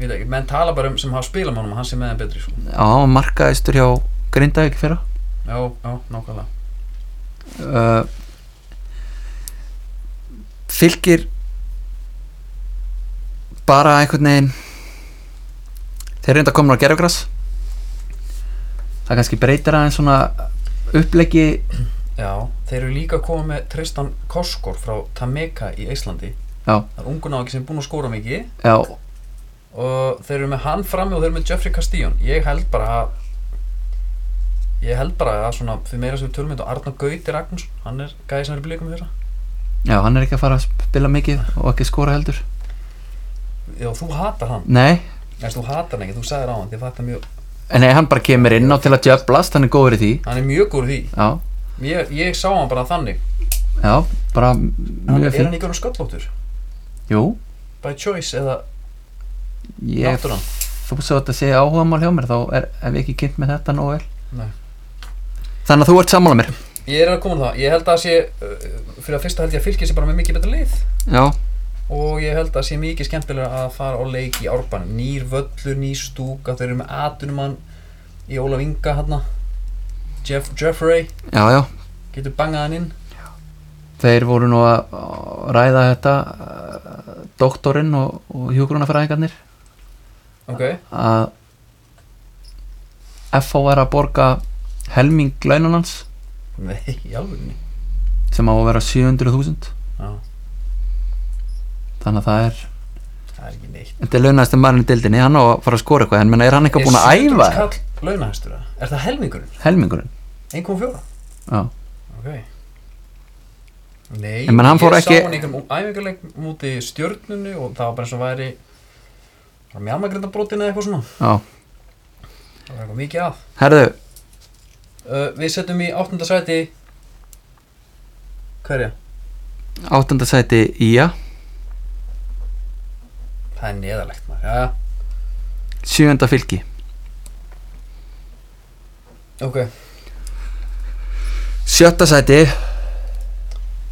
Speaker 2: ég veit ekki menn tala bara um sem hafa spilað mánum að hann sé með þeim betri sko
Speaker 3: já, hann var markaðistur hjá Grindavík í fyrra
Speaker 2: já, já, nákvæmlega
Speaker 3: uh, fylgir bara einhvern veginn þeir reynda komin á gerfgras það kannski breytir aðeins svona uppleggi
Speaker 2: Já, þeir eru líka að koma með Tristan Koskor frá Tameka í Íslandi
Speaker 3: Já.
Speaker 2: Það er ungu náki sem er búin að skóra mikið
Speaker 3: já,
Speaker 2: og þeir eru með hann frammi og þeir eru með Jeffrey Castillon Ég held bara að ég held bara að svona fyrir meira sem við tölum þetta og Arnar Gauti Ragnarsson hann er gæði sem er blíkum þeirra
Speaker 3: já, hann er ekki að fara að spila mikið og ekki skora heldur
Speaker 2: Já, þú hatar hann
Speaker 3: nei,
Speaker 2: Nei, þú hatar hann ekki, þú sagðir á hann því þetta mjög
Speaker 3: en nei, hann bara kemur inn á til að djöflast, hann er góður í því
Speaker 2: hann er mjög gór því
Speaker 3: já,
Speaker 2: Ég, ég sá hann bara þannig
Speaker 3: já, bara
Speaker 2: hann, Er
Speaker 3: mjög
Speaker 2: hann
Speaker 3: fín
Speaker 2: ekki hann sköllóttur?
Speaker 3: jú,
Speaker 2: By choice eða
Speaker 3: ég
Speaker 2: náttúran?
Speaker 3: þú svo að þetta sé áhuga mál hjá mér þá er, ef ég ekki kynnt með þetta nógu vel
Speaker 2: Nei.
Speaker 3: þannig að þú ert sammála mér
Speaker 2: Ég er að koma um það, ég held að það sé uh, fyrir að fyrsta held ég að fylgja sé bara með mikið betra lið
Speaker 3: já,
Speaker 2: og ég held að sé mikið skemmtilega að fara á leik í árbanum nýr völlur, nýr stúka, þeir eru með atunumann í Ólaf Inga hérna Jeff, Jeffrey
Speaker 3: já, já
Speaker 2: getur bangað hann inn
Speaker 3: þeir voru nú að að ræða þetta uh, doktorinn og, og hjúgrunafræðingarnir Ah.
Speaker 2: ok,
Speaker 3: að FH er að borga helming launanans
Speaker 2: nei, í alvöginni
Speaker 3: sem á að vera 700.000
Speaker 2: já,
Speaker 3: þannig að það er
Speaker 2: það er ekki neitt
Speaker 3: þetta er launaðist um marinn í dildinni, hann á að fara að skora eitthvað en menna, er hann eitthvað búin að æfa
Speaker 2: Er 700 kall launahæstur það? Er það helmingurinn?
Speaker 3: helmingurinn
Speaker 2: 1,4?
Speaker 3: já,
Speaker 2: Ok Nei,
Speaker 3: En menn, hann fór
Speaker 2: ég
Speaker 3: ekki-
Speaker 2: sá hann einhverjum æfingarleik múti stjörnunni og það var bara eins og væri bara mjálmagrindabrotin eða eitthvað svona
Speaker 3: já,
Speaker 2: það var eitthvað mikið að
Speaker 3: herðu
Speaker 2: Uh, við setjum í áttunda sæti Hverja?
Speaker 3: áttundasæti Ía
Speaker 2: Það er neðalegt maður Já,
Speaker 3: sjöunda fylki
Speaker 2: ok
Speaker 3: sjötta sæti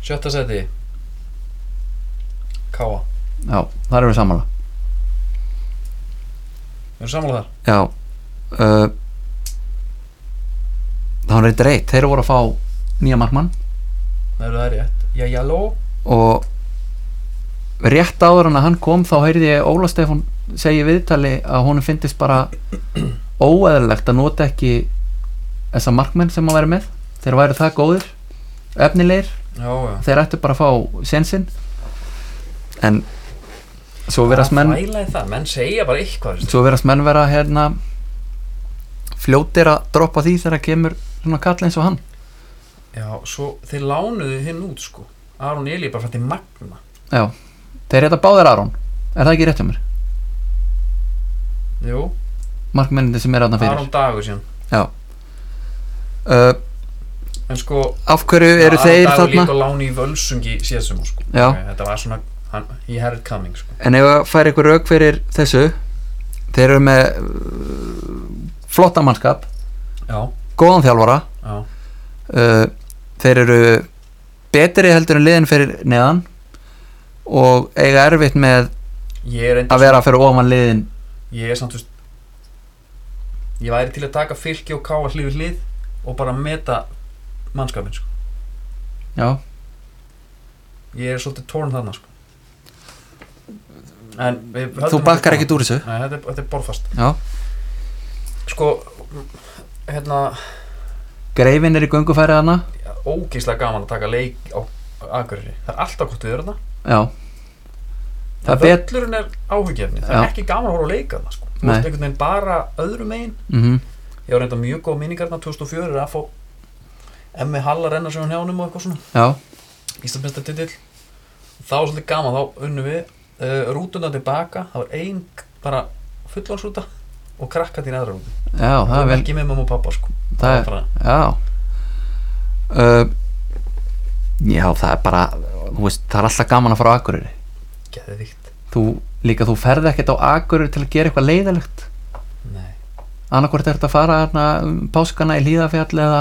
Speaker 2: Sjötta sæti Káa
Speaker 3: já, þar eru við sammála
Speaker 2: Við erum sammála þar
Speaker 3: já uh, þá er þetta reitt þeir voru að fá nýja markmann
Speaker 2: Það eru þær rétt Já, jáló
Speaker 3: og rétt áður en að hann kom þá heyrði ég Óla Stefán segja í viðtali að honum fyndist bara óeðalegt að nota ekki þessa markmenn sem að vera með þeir væri það góðir efnilegir,
Speaker 2: Já, já
Speaker 3: þeir ættu bara að fá sensinn en svo verðast menn
Speaker 2: Það fælaði það, menn segja bara eitthvað veistu.
Speaker 3: svo verðast menn vera hérna fljótir að droppa því þegar kemur svona kall eins og hann
Speaker 2: Já, svo þeir lánuðu hinn út sko Aron Eli bara fætti magna
Speaker 3: já, þeir heita báðir Aron er það ekki rétt hjá mér?
Speaker 2: Jú,
Speaker 3: markmennindi sem er aðna fyrir
Speaker 2: Aron Dagur síðan
Speaker 3: uh,
Speaker 2: En sko
Speaker 3: af hverju eru
Speaker 2: Aron
Speaker 3: þeir
Speaker 2: Dagur
Speaker 3: þarna
Speaker 2: líka láni í völsungi síðastum sko
Speaker 3: Já.
Speaker 2: Ok, Þetta var svona hann, ég herrið coming sko.
Speaker 3: En ef að færa ykkur rauk fyrir þessu Þeir eru með uh, flotta mannskap,
Speaker 2: já,
Speaker 3: góðan þjálfara
Speaker 2: já,
Speaker 3: uh, Þeir eru betri heldur en liðin fyrir neðan og eiga erfitt með
Speaker 2: ég er
Speaker 3: að
Speaker 2: enda
Speaker 3: vera fyrir ofan liðin
Speaker 2: ég er samt þú veist ég væri til að taka fylki og káa hlið við hlið og bara meta mannskapin sko.
Speaker 3: Já,
Speaker 2: ég er svolítið tórn þarna sko. en við höldum
Speaker 3: þú
Speaker 2: okkur
Speaker 3: bakkar
Speaker 2: saman.
Speaker 3: ekkert úr þessu
Speaker 2: Nei, þetta er, þetta er borfast
Speaker 3: Já,
Speaker 2: sko, hérna
Speaker 3: greifin er í göngufæri hana
Speaker 2: ógeðslega gaman að taka leik á Akureyri, það er alltaf gott við erum það
Speaker 3: Já Það bet
Speaker 2: völlurinn er áhugjefni, það er
Speaker 3: Já.
Speaker 2: ekki gaman að horfa á leika það sko, þú
Speaker 3: Nei.
Speaker 2: veist einhvern veginn bara öðrum megin
Speaker 3: mm
Speaker 2: ég var reynda mjög góð minningarna 2004 er að fá Emmi Halla renna sem hún hjánum og eitthvað svona
Speaker 3: Já,
Speaker 2: Íslandsmesta titill þá var svolítið gaman, þá unnum við uh, rútuna tilbaka, það var ein k- bara fullvarsrúta og krakka þín aðra rúti,
Speaker 3: já, það er Ah, vel
Speaker 2: ekki með mamma og pappa sko
Speaker 3: Það er-
Speaker 2: bara,
Speaker 3: Já uh, Já, það er bara þú veist, það er alltaf gaman að fara á Akureyri
Speaker 2: geðvikt,
Speaker 3: þú, Líka þú ferð ekkert á Akureyri til að gera eitthvað leiðalegt
Speaker 2: nei
Speaker 3: annarkvort er þetta að fara hana, um páskana í Hlíðafjall eða,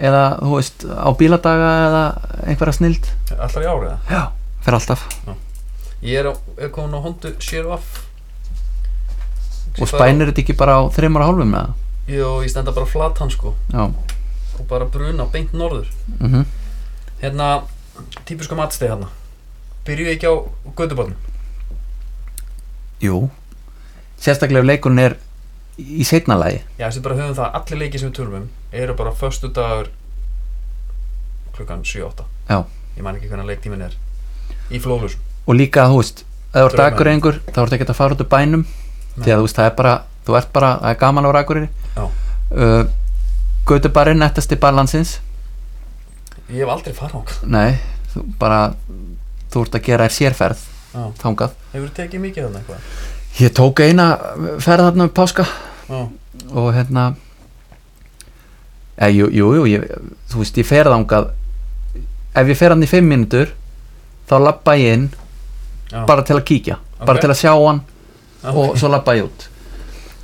Speaker 3: eða þú veist, á bíladaga eða einhverja snild
Speaker 2: alltaf í árið það
Speaker 3: Já, fer alltaf
Speaker 2: Ég er, á- er komin á Hondu Sherwaff
Speaker 3: og spænir þetta ekki bara á þreymar og hálfum eða?
Speaker 2: Jó, ég stenda bara flatan sko
Speaker 3: Já,
Speaker 2: og bara bruna beint norður
Speaker 3: mhm
Speaker 2: Hérna, típiska matsteg hérna Byrjuðu ekki á gödubarnum
Speaker 3: Jú Sérstaklega ef leikurinn er í seinna lagi
Speaker 2: Já, þessi bara höfum það að allir leikið sem við tölum um eru bara föstu dagur klukkan 7-8
Speaker 3: Já.
Speaker 2: Ég man ekki hvernig leiktíminn er í flóðlus
Speaker 3: og líka þú veist, ef þú ert
Speaker 2: Draumar.
Speaker 3: akureyringur þá ertu ekkert að fara út úr bænum því að þú veist, það er bara, þú ert bara, það er gaman á akureyri
Speaker 2: Já.
Speaker 3: uh, Götubarinn, nettasti bar landsins
Speaker 2: Ég hef aldrei farað okkar
Speaker 3: nei, þú bara þú ert að gera þér sérferð
Speaker 2: Já.
Speaker 3: þangað.
Speaker 2: Hefur tekið mikið þarna eitthvað?
Speaker 3: Ég tók eina ferð þarna um páska
Speaker 2: Já,
Speaker 3: og hérna eða, jú, jú, jú ég, þú veist, ég fer þangað ef ég fer hann í fimm mínútur þá labba ég inn
Speaker 2: já,
Speaker 3: bara til að kíkja, bara
Speaker 2: Ok.
Speaker 3: til að sjá hann
Speaker 2: já,
Speaker 3: og svo lappa ég út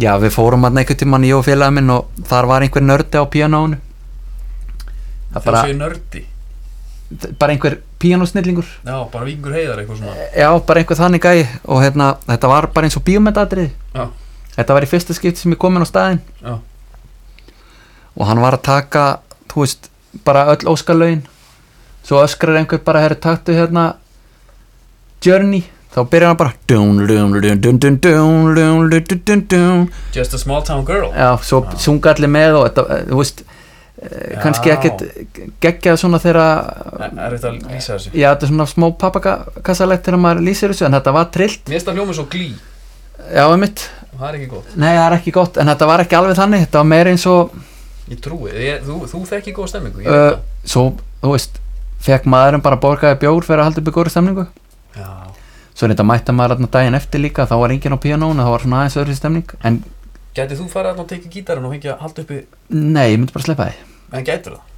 Speaker 3: já við fórum hann einhvern tímann ég og félagin minn og þar var einhver nördi á píanónu það
Speaker 2: Þegar
Speaker 3: bara,
Speaker 2: séu nördi
Speaker 3: bara einhver píanósnillingur
Speaker 2: Já, bara vikingur heiðar eitthvað svona
Speaker 3: já bara einhver þannig gæi og hérna, þetta var bara eins og bíómetatrið
Speaker 2: Já.
Speaker 3: þetta var í fyrsta skipti sem ég kom inn á staðinn
Speaker 2: Já.
Speaker 3: og hann var að taka þú veist, bara öll óskalögin svo öskrar einhver bara herri taktu hérna Journey, þá byrjar hann bara dun, dun, dun, dun, dun, dun, dun, dun, dun, dun,
Speaker 2: Just a small town girl
Speaker 3: Já, svo
Speaker 2: Já.
Speaker 3: sunga allir með og þetta, eh, þú veist, já. kannski
Speaker 2: Já.
Speaker 3: ekkert geggjað svona þegar,
Speaker 2: Það er þetta að lýsa þessu
Speaker 3: já, þetta er svona smá pappakassalegt þegar maður lýsir þessu, en þetta var trillt,
Speaker 2: Mér stað hljómið svo glý
Speaker 3: já, einmitt,
Speaker 2: og það er ekki gott
Speaker 3: nei, það er ekki gott, en þetta var ekki alveg þannig, þetta var meira eins og,
Speaker 2: Ég trúi, ég, þú, þú þekki góða stemmingu ég
Speaker 3: uh,
Speaker 2: veit
Speaker 3: svo, þú veist, fekk maðurinn bara borgaði bjór fyrir að halda upp í góri stemningu,
Speaker 2: það. Já
Speaker 3: svo reynda mætti maður þarna daginn eftir líka, þá var enginn á píanónu, þá var svona aðeins öðru stemning, en
Speaker 2: Gætið þú farið að teki gítarinn og hengja halda uppi
Speaker 3: nei, ég myndi bara sleppa því,
Speaker 2: En gætur það?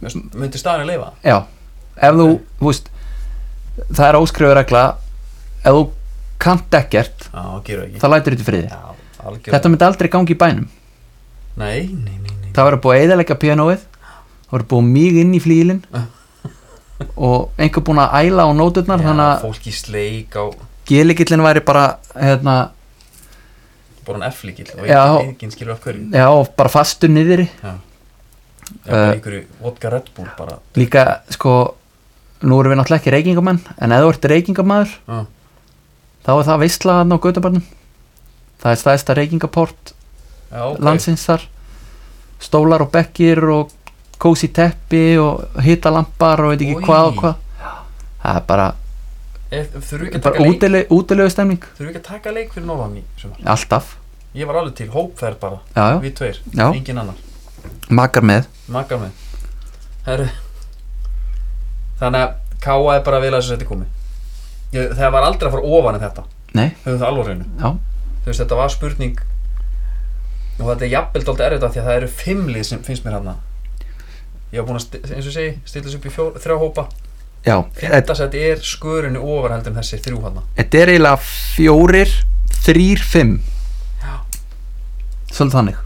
Speaker 2: Veist, Myndi staðan að leifa?
Speaker 3: já, ef þú, þú veist, það er óskrifur regla, ef þú kannt ekkert,
Speaker 2: Já, gerur ekki
Speaker 3: það lætur þetta friði
Speaker 2: Já, algjör
Speaker 3: þetta myndi aldrei gangi í bænum
Speaker 2: Nei, nei, nei, nei
Speaker 3: það verður búið að eðalega pianoið það verður búið mýg inn í flílin og einhver búinn að æla á nóturnar þannig að
Speaker 2: Fólk í sleik á
Speaker 3: gelikillin væri bara hérna,
Speaker 2: bara hann F-líkil og
Speaker 3: Já.
Speaker 2: enginn- enginn skilur af hverju
Speaker 3: já, bara fastur niðri
Speaker 2: Já Já, bara
Speaker 3: Eh.
Speaker 2: einhverju vodka Red Bull bara
Speaker 3: líka sko nú erum við náttúrulega ekki reykingamenn en ef þú ert reykingamæður
Speaker 2: Já,
Speaker 3: þá er það veistla hann á götubarnum það er staðista reykingaport
Speaker 2: já ok
Speaker 3: landsins þar stólar og bekkir og kósi teppi og hitalampar og veit ekki
Speaker 2: Oj.
Speaker 3: hvað og hvað það er bara,
Speaker 2: Eh, Þurfum við ekki að taka
Speaker 3: bara
Speaker 2: leik
Speaker 3: útilegu, útilegu stemning
Speaker 2: Þurfum við ekki að taka leik fyrir norðan í sumar
Speaker 3: alltaf,
Speaker 2: Ég var alveg til hópferð bara
Speaker 3: já, já,
Speaker 2: Við tveir,
Speaker 3: Já.
Speaker 2: enginn annar
Speaker 3: makar með
Speaker 2: Makar með Herru Þannig að K.A. er bara vel að þessu seti komi ég, Það var aldrei að fara ofan en þetta
Speaker 3: nei,
Speaker 2: Höfum það alveg reynu
Speaker 3: já,
Speaker 2: Þú veist þetta var spurning Og þetta er jafnvel dálítið erfitt af Því að það eru fimmlið sem finnst mér hann Ég var búin að, sti- eins og ég segi, stilla þessu upp í fjó, þrjá hópa
Speaker 3: já, þetta
Speaker 2: Þetta seti er skörinu ofar heldur en þessi þrjú hana
Speaker 3: þetta er eiginlega fjórir þrýr, fimm
Speaker 2: Já.
Speaker 3: svolítið þannig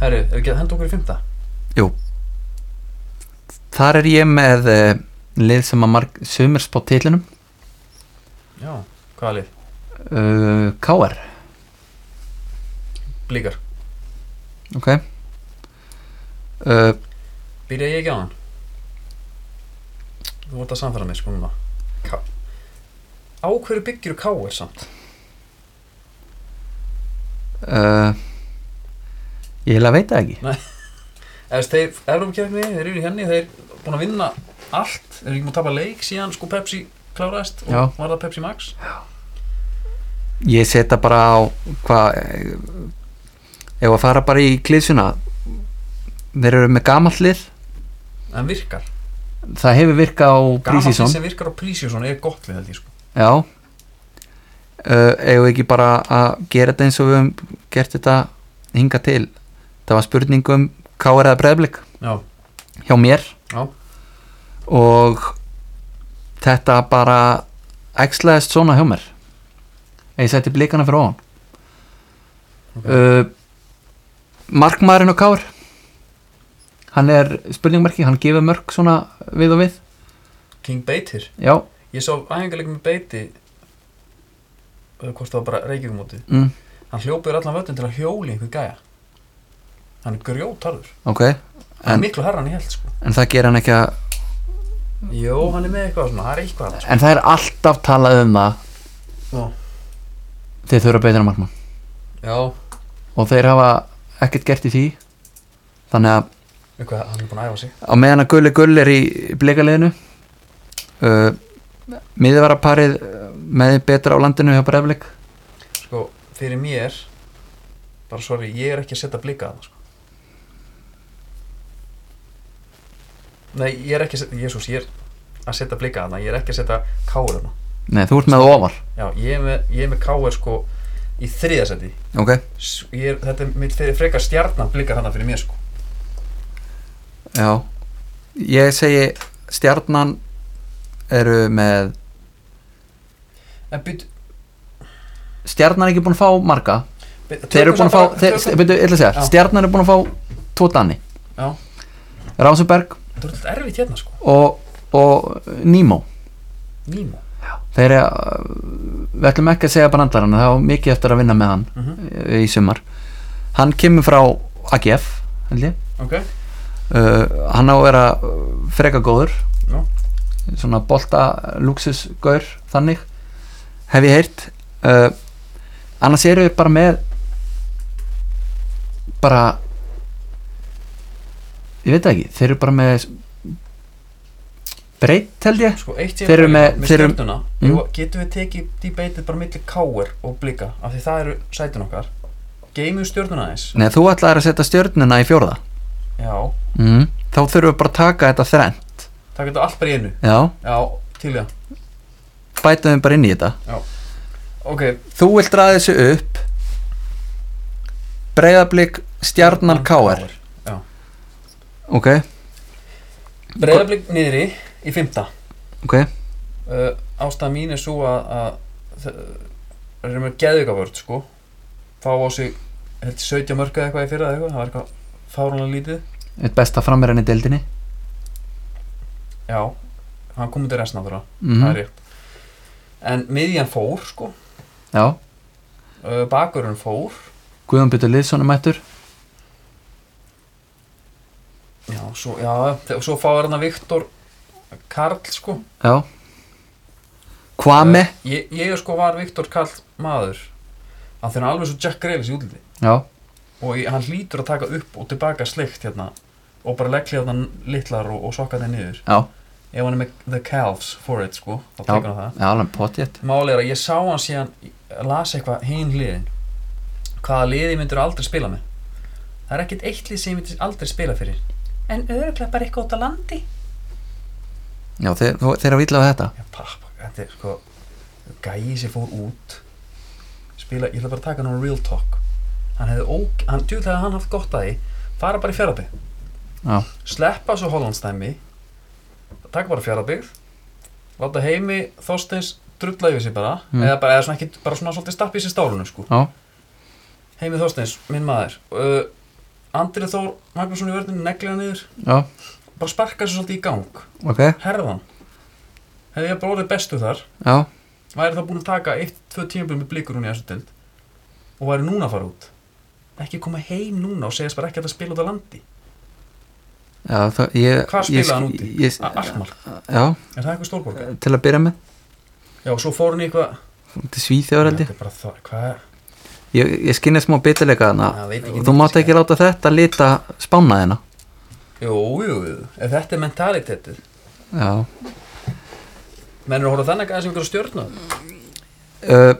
Speaker 2: Herru, ef við getum henda okkur í fymta
Speaker 3: þar er ég með uh, lið sem að marg, sumir spá titlinum
Speaker 2: Já, hvaða lið?
Speaker 3: uh, KR
Speaker 2: Blíkar,
Speaker 3: ok uh,
Speaker 2: byrja ég ekki á hann Þú vart að samfæra mig sko núna K Á hverju byggjur K.R. samt?
Speaker 3: uh, ég heila veit það ekki
Speaker 2: Eða þess, þeir Evrópakefni, þeir eru í henni þeir búin að vinna allt þeir eru ekki múið að tapa leik síðan sko Pepsi kláraðist og
Speaker 3: Já.
Speaker 2: var það Pepsi Max
Speaker 3: ég setja bara á hvað eh, ef að fara bara í klísuna þeir eru með gamall lið
Speaker 2: en virkar,
Speaker 3: það hefur virkað á
Speaker 2: gaman
Speaker 3: prísísson
Speaker 2: því sem virkar á Prísísson er gott lið held ég sko
Speaker 3: já uh, eigum við ekki bara að gera þetta eins og við höfum gert þetta hinga til það var spurning um hvað er það breyðblik
Speaker 2: Já,
Speaker 3: hjá mér
Speaker 2: Já.
Speaker 3: og þetta bara æxlaðist svona hjá mér Ef ég setti blikana fyrir ofan
Speaker 2: Ok.
Speaker 3: okay. markmaðurinn og kár hann er spurningmarki, hann gefur mörg svona við og við
Speaker 2: King Beitir
Speaker 3: já,
Speaker 2: Ég sá æfingarleikum með Beiti eða hvort það var bara reykjumótið
Speaker 3: mm,
Speaker 2: hann hljópið allan völdin til að hjóli einhver gæja hann er grjótarður
Speaker 3: ok
Speaker 2: hann er
Speaker 3: En-
Speaker 2: miklu herran í held sko
Speaker 3: en það ger hann ekki að
Speaker 2: Jó, hann er með eitthvað svona, það er eitthvað hann sko.
Speaker 3: en það er alltaf talað um það
Speaker 2: Já.
Speaker 3: þeir þurfa betur en markmann
Speaker 2: Já,
Speaker 3: og þeir hafa ekkert gert í því þannig að
Speaker 2: eitthvað, hann er búin að æfa sig
Speaker 3: á meðan að Gulli Gull er í bleikaliðinu uh, miðvaraparið uh, með þeim betra á landinu hjá Breflik
Speaker 2: sko, fyrir mér bara sorry, ég er ekki að setja blika að það sko Nei, ég er ekki að setja Jésús, ég er að setja blika að það ég er ekki að setja káur hana
Speaker 3: nei þú ert með ofar
Speaker 2: Já, ég er með, ég er með káur sko í þriðasetti
Speaker 3: ok
Speaker 2: ég er, þetta er mitt fyrir frekar stjarnan blikar hana fyrir mér sko
Speaker 3: já ég segi stjarnan eru með
Speaker 2: en bytt
Speaker 3: stjarnan er ekki búin að fá marga þeir eru
Speaker 2: tökum
Speaker 3: búin að
Speaker 2: samt
Speaker 3: fá
Speaker 2: bara-
Speaker 3: þeir,
Speaker 2: tökum-
Speaker 3: byrju, ég ætla að segja,
Speaker 2: Já.
Speaker 3: stjarnan er búin að fá tvo danni
Speaker 2: Já.
Speaker 3: Rásuberg
Speaker 2: þetta er alltaf erfitt hérna sko
Speaker 3: og, og Nemo
Speaker 2: Nýma
Speaker 3: þeir eru uh, við ætlum ekki að segja brandarann það var mikið eftir að vinna með hann
Speaker 2: mm
Speaker 3: í sumar hann kemur frá AGF held ég
Speaker 2: ok
Speaker 3: uh, hann á að vera uh, freka góður
Speaker 2: Já.
Speaker 3: svona bolta luxusgaur þannig hef ég heyrt uh, annars eru við bara með bara ég veit það ekki, þeir eru bara með breytt held ég
Speaker 2: sko eitt sem
Speaker 3: Þeir eru
Speaker 2: ég-
Speaker 3: með- þeir eru-
Speaker 2: stjörnuna
Speaker 3: Mm.
Speaker 2: mm. getum við tekið debatið bara millir káir og blika af því það eru sætin okkar geymum stjörnuna aðeins
Speaker 3: Nei, þú ætlaðir að setja stjörnuna í fjórða
Speaker 2: já
Speaker 3: mm. þá þurfum við bara að taka þetta þrenn
Speaker 2: það getur allt bara í einu
Speaker 3: já,
Speaker 2: já til það
Speaker 3: bætum við bara inn í þetta
Speaker 2: ok
Speaker 3: Þú vilt ræða þessu upp Breiðablík Stjarnar K.R. Ok,
Speaker 2: breyðablík niðri í fymta
Speaker 3: ok
Speaker 2: uh, ástæða mín er svo að, að þe- þeir eru með geðugavörð sko fá á sig held, 17 mörg eða eitthvað í fyrra eða eitthvað það var eitthvað fárunlega lítið
Speaker 3: Eitt besta framverðan í deildinni
Speaker 2: já, hann kom út í resna þurra
Speaker 3: mm
Speaker 2: það er rétt en miðjan fór sko
Speaker 3: Já,
Speaker 2: uh, bakurinn fór
Speaker 3: Guðan Byttur Liðsson er mættur
Speaker 2: já, svo, já, þe- og svo fáir hann að Viktor Karl sko
Speaker 3: Já Kvame
Speaker 2: Eh, ég, ég sko var Viktor Karl maður að þeirra alveg svo Jack Greavis í útliti
Speaker 3: Já,
Speaker 2: og ég, hann hlýtur að taka upp og tilbaka slikt hérna og bara leggja hérna litlar og, og sokka þeir niður
Speaker 3: já,
Speaker 2: ef hann er með the calves for it sko þá
Speaker 3: já,
Speaker 2: tekur hann það
Speaker 3: já, alveg potjett
Speaker 2: máli er að ég sá hann síðan ég las eitthvað hinn liðin hvaða liði myndir aldrei spila með það er ekkert eitt lið sem ég myndir aldrei spila fyrir en öruglega bara eitthvað út á landi
Speaker 3: Já, þeir, þú- þeir eru villað á þetta
Speaker 2: já pappa, þetta er sko gæi sem fór út spila, ég ætla bara að taka hann á real talk hann hefði óg, hann djúðlega hann haft gott að því fara bara í fjaraði
Speaker 3: Já,
Speaker 2: sleppa svo Hollandstæmi taka bara fjarabyggð láta heimi Þorsteins drulla yfir sig bara
Speaker 3: Mm.
Speaker 2: eða bara, eða svona ekki, bara svona svolítið stappi sér stálunum sko
Speaker 3: Já.
Speaker 2: heimi Þorsteins, minn maður uh, Andri Þór Magnússon í vörðinu neglir hann yfir
Speaker 3: Já,
Speaker 2: bara sparka sér svolítið í gang
Speaker 3: ok,
Speaker 2: herðan hefði ég bara orðið bestu þar
Speaker 3: já,
Speaker 2: væri þá búin að taka 1-2 tímabil með blikur hún í þessu dild og væri núna að fara út ekki koma heim núna og segjast bara ekki að það spila út á landi
Speaker 3: já það, ég,
Speaker 2: Hvar
Speaker 3: ég,
Speaker 2: spilaði hann úti?
Speaker 3: Ég,
Speaker 2: A- Alkmaar,
Speaker 3: já,
Speaker 2: er það eitthvað stórborgar?
Speaker 3: til að byrja með,
Speaker 2: Já, svo fór hann í eitthvað
Speaker 3: til Svíþjóður held ég
Speaker 2: Þetta er bara það, hvað er
Speaker 3: Ég, ég skinni smá bitileika þarna
Speaker 2: Já, veit ekki
Speaker 3: og þú mátt ekki láta þetta lita hérna. spána þina
Speaker 2: Jú, jú, jú, ef þetta er mentalitetið
Speaker 3: Já
Speaker 2: menn eru að horfa á þannig aðeins einhverju stjórnum
Speaker 3: uh,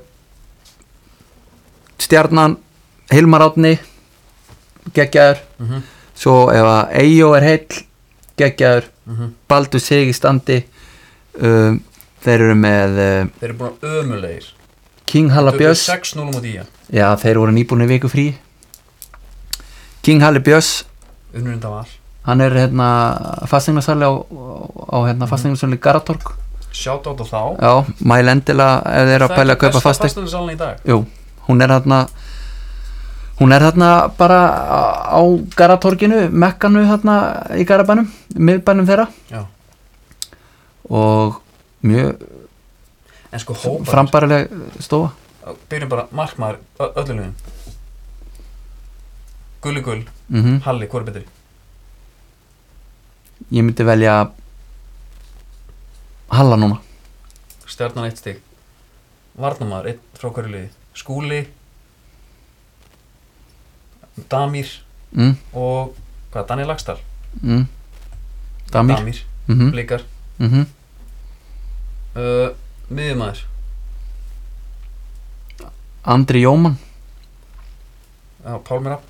Speaker 3: Stjarnan Hilmar Átni geggjaður
Speaker 2: Mhm.
Speaker 3: svo ef að Eyjó er heill geggjaður,
Speaker 2: Mhm.
Speaker 3: Baldur sig í standi um, þeir eru með uh,
Speaker 2: Þeir eru búin að ömulegir
Speaker 3: King Halla
Speaker 2: Töpuðu
Speaker 3: Björns
Speaker 2: 6-0 mútið í hann
Speaker 3: já þeir voru nýbúinu viku frí King Halli Björns
Speaker 2: Unnurinn það var
Speaker 3: hann er hérna fastningnarsali á, á hérna fastningnarsali Garatorg
Speaker 2: Sjátt á þá
Speaker 3: Já, mæl endilega ef þeir eru að pæla að kaupa fasteign
Speaker 2: fasteign í dag
Speaker 3: Jú, hún er þarna hún er þarna bara á á Garatorginu, Mekkanu þarna í Garabænum, miðbænum þeirra
Speaker 2: Já.
Speaker 3: og mjög
Speaker 2: En sko hópar
Speaker 3: frambarileg stofa
Speaker 2: Byrjum bara markmaður ö- öllu liðum Gulli gull,
Speaker 3: mm
Speaker 2: Halli, hvað er betri?
Speaker 3: Ég myndi velja Halla núna
Speaker 2: Stjarnan eitt stig Varnamaður, einn frá hverju liði Skúli Damir
Speaker 3: mm,
Speaker 2: og hvað, Daniel Lagstar
Speaker 3: mm. Damir
Speaker 2: Damir,
Speaker 3: mm -hmm,
Speaker 2: Blikar
Speaker 3: mm
Speaker 2: uh, Miðjumæður,
Speaker 3: Andri Jóman
Speaker 2: Pálmir Rapp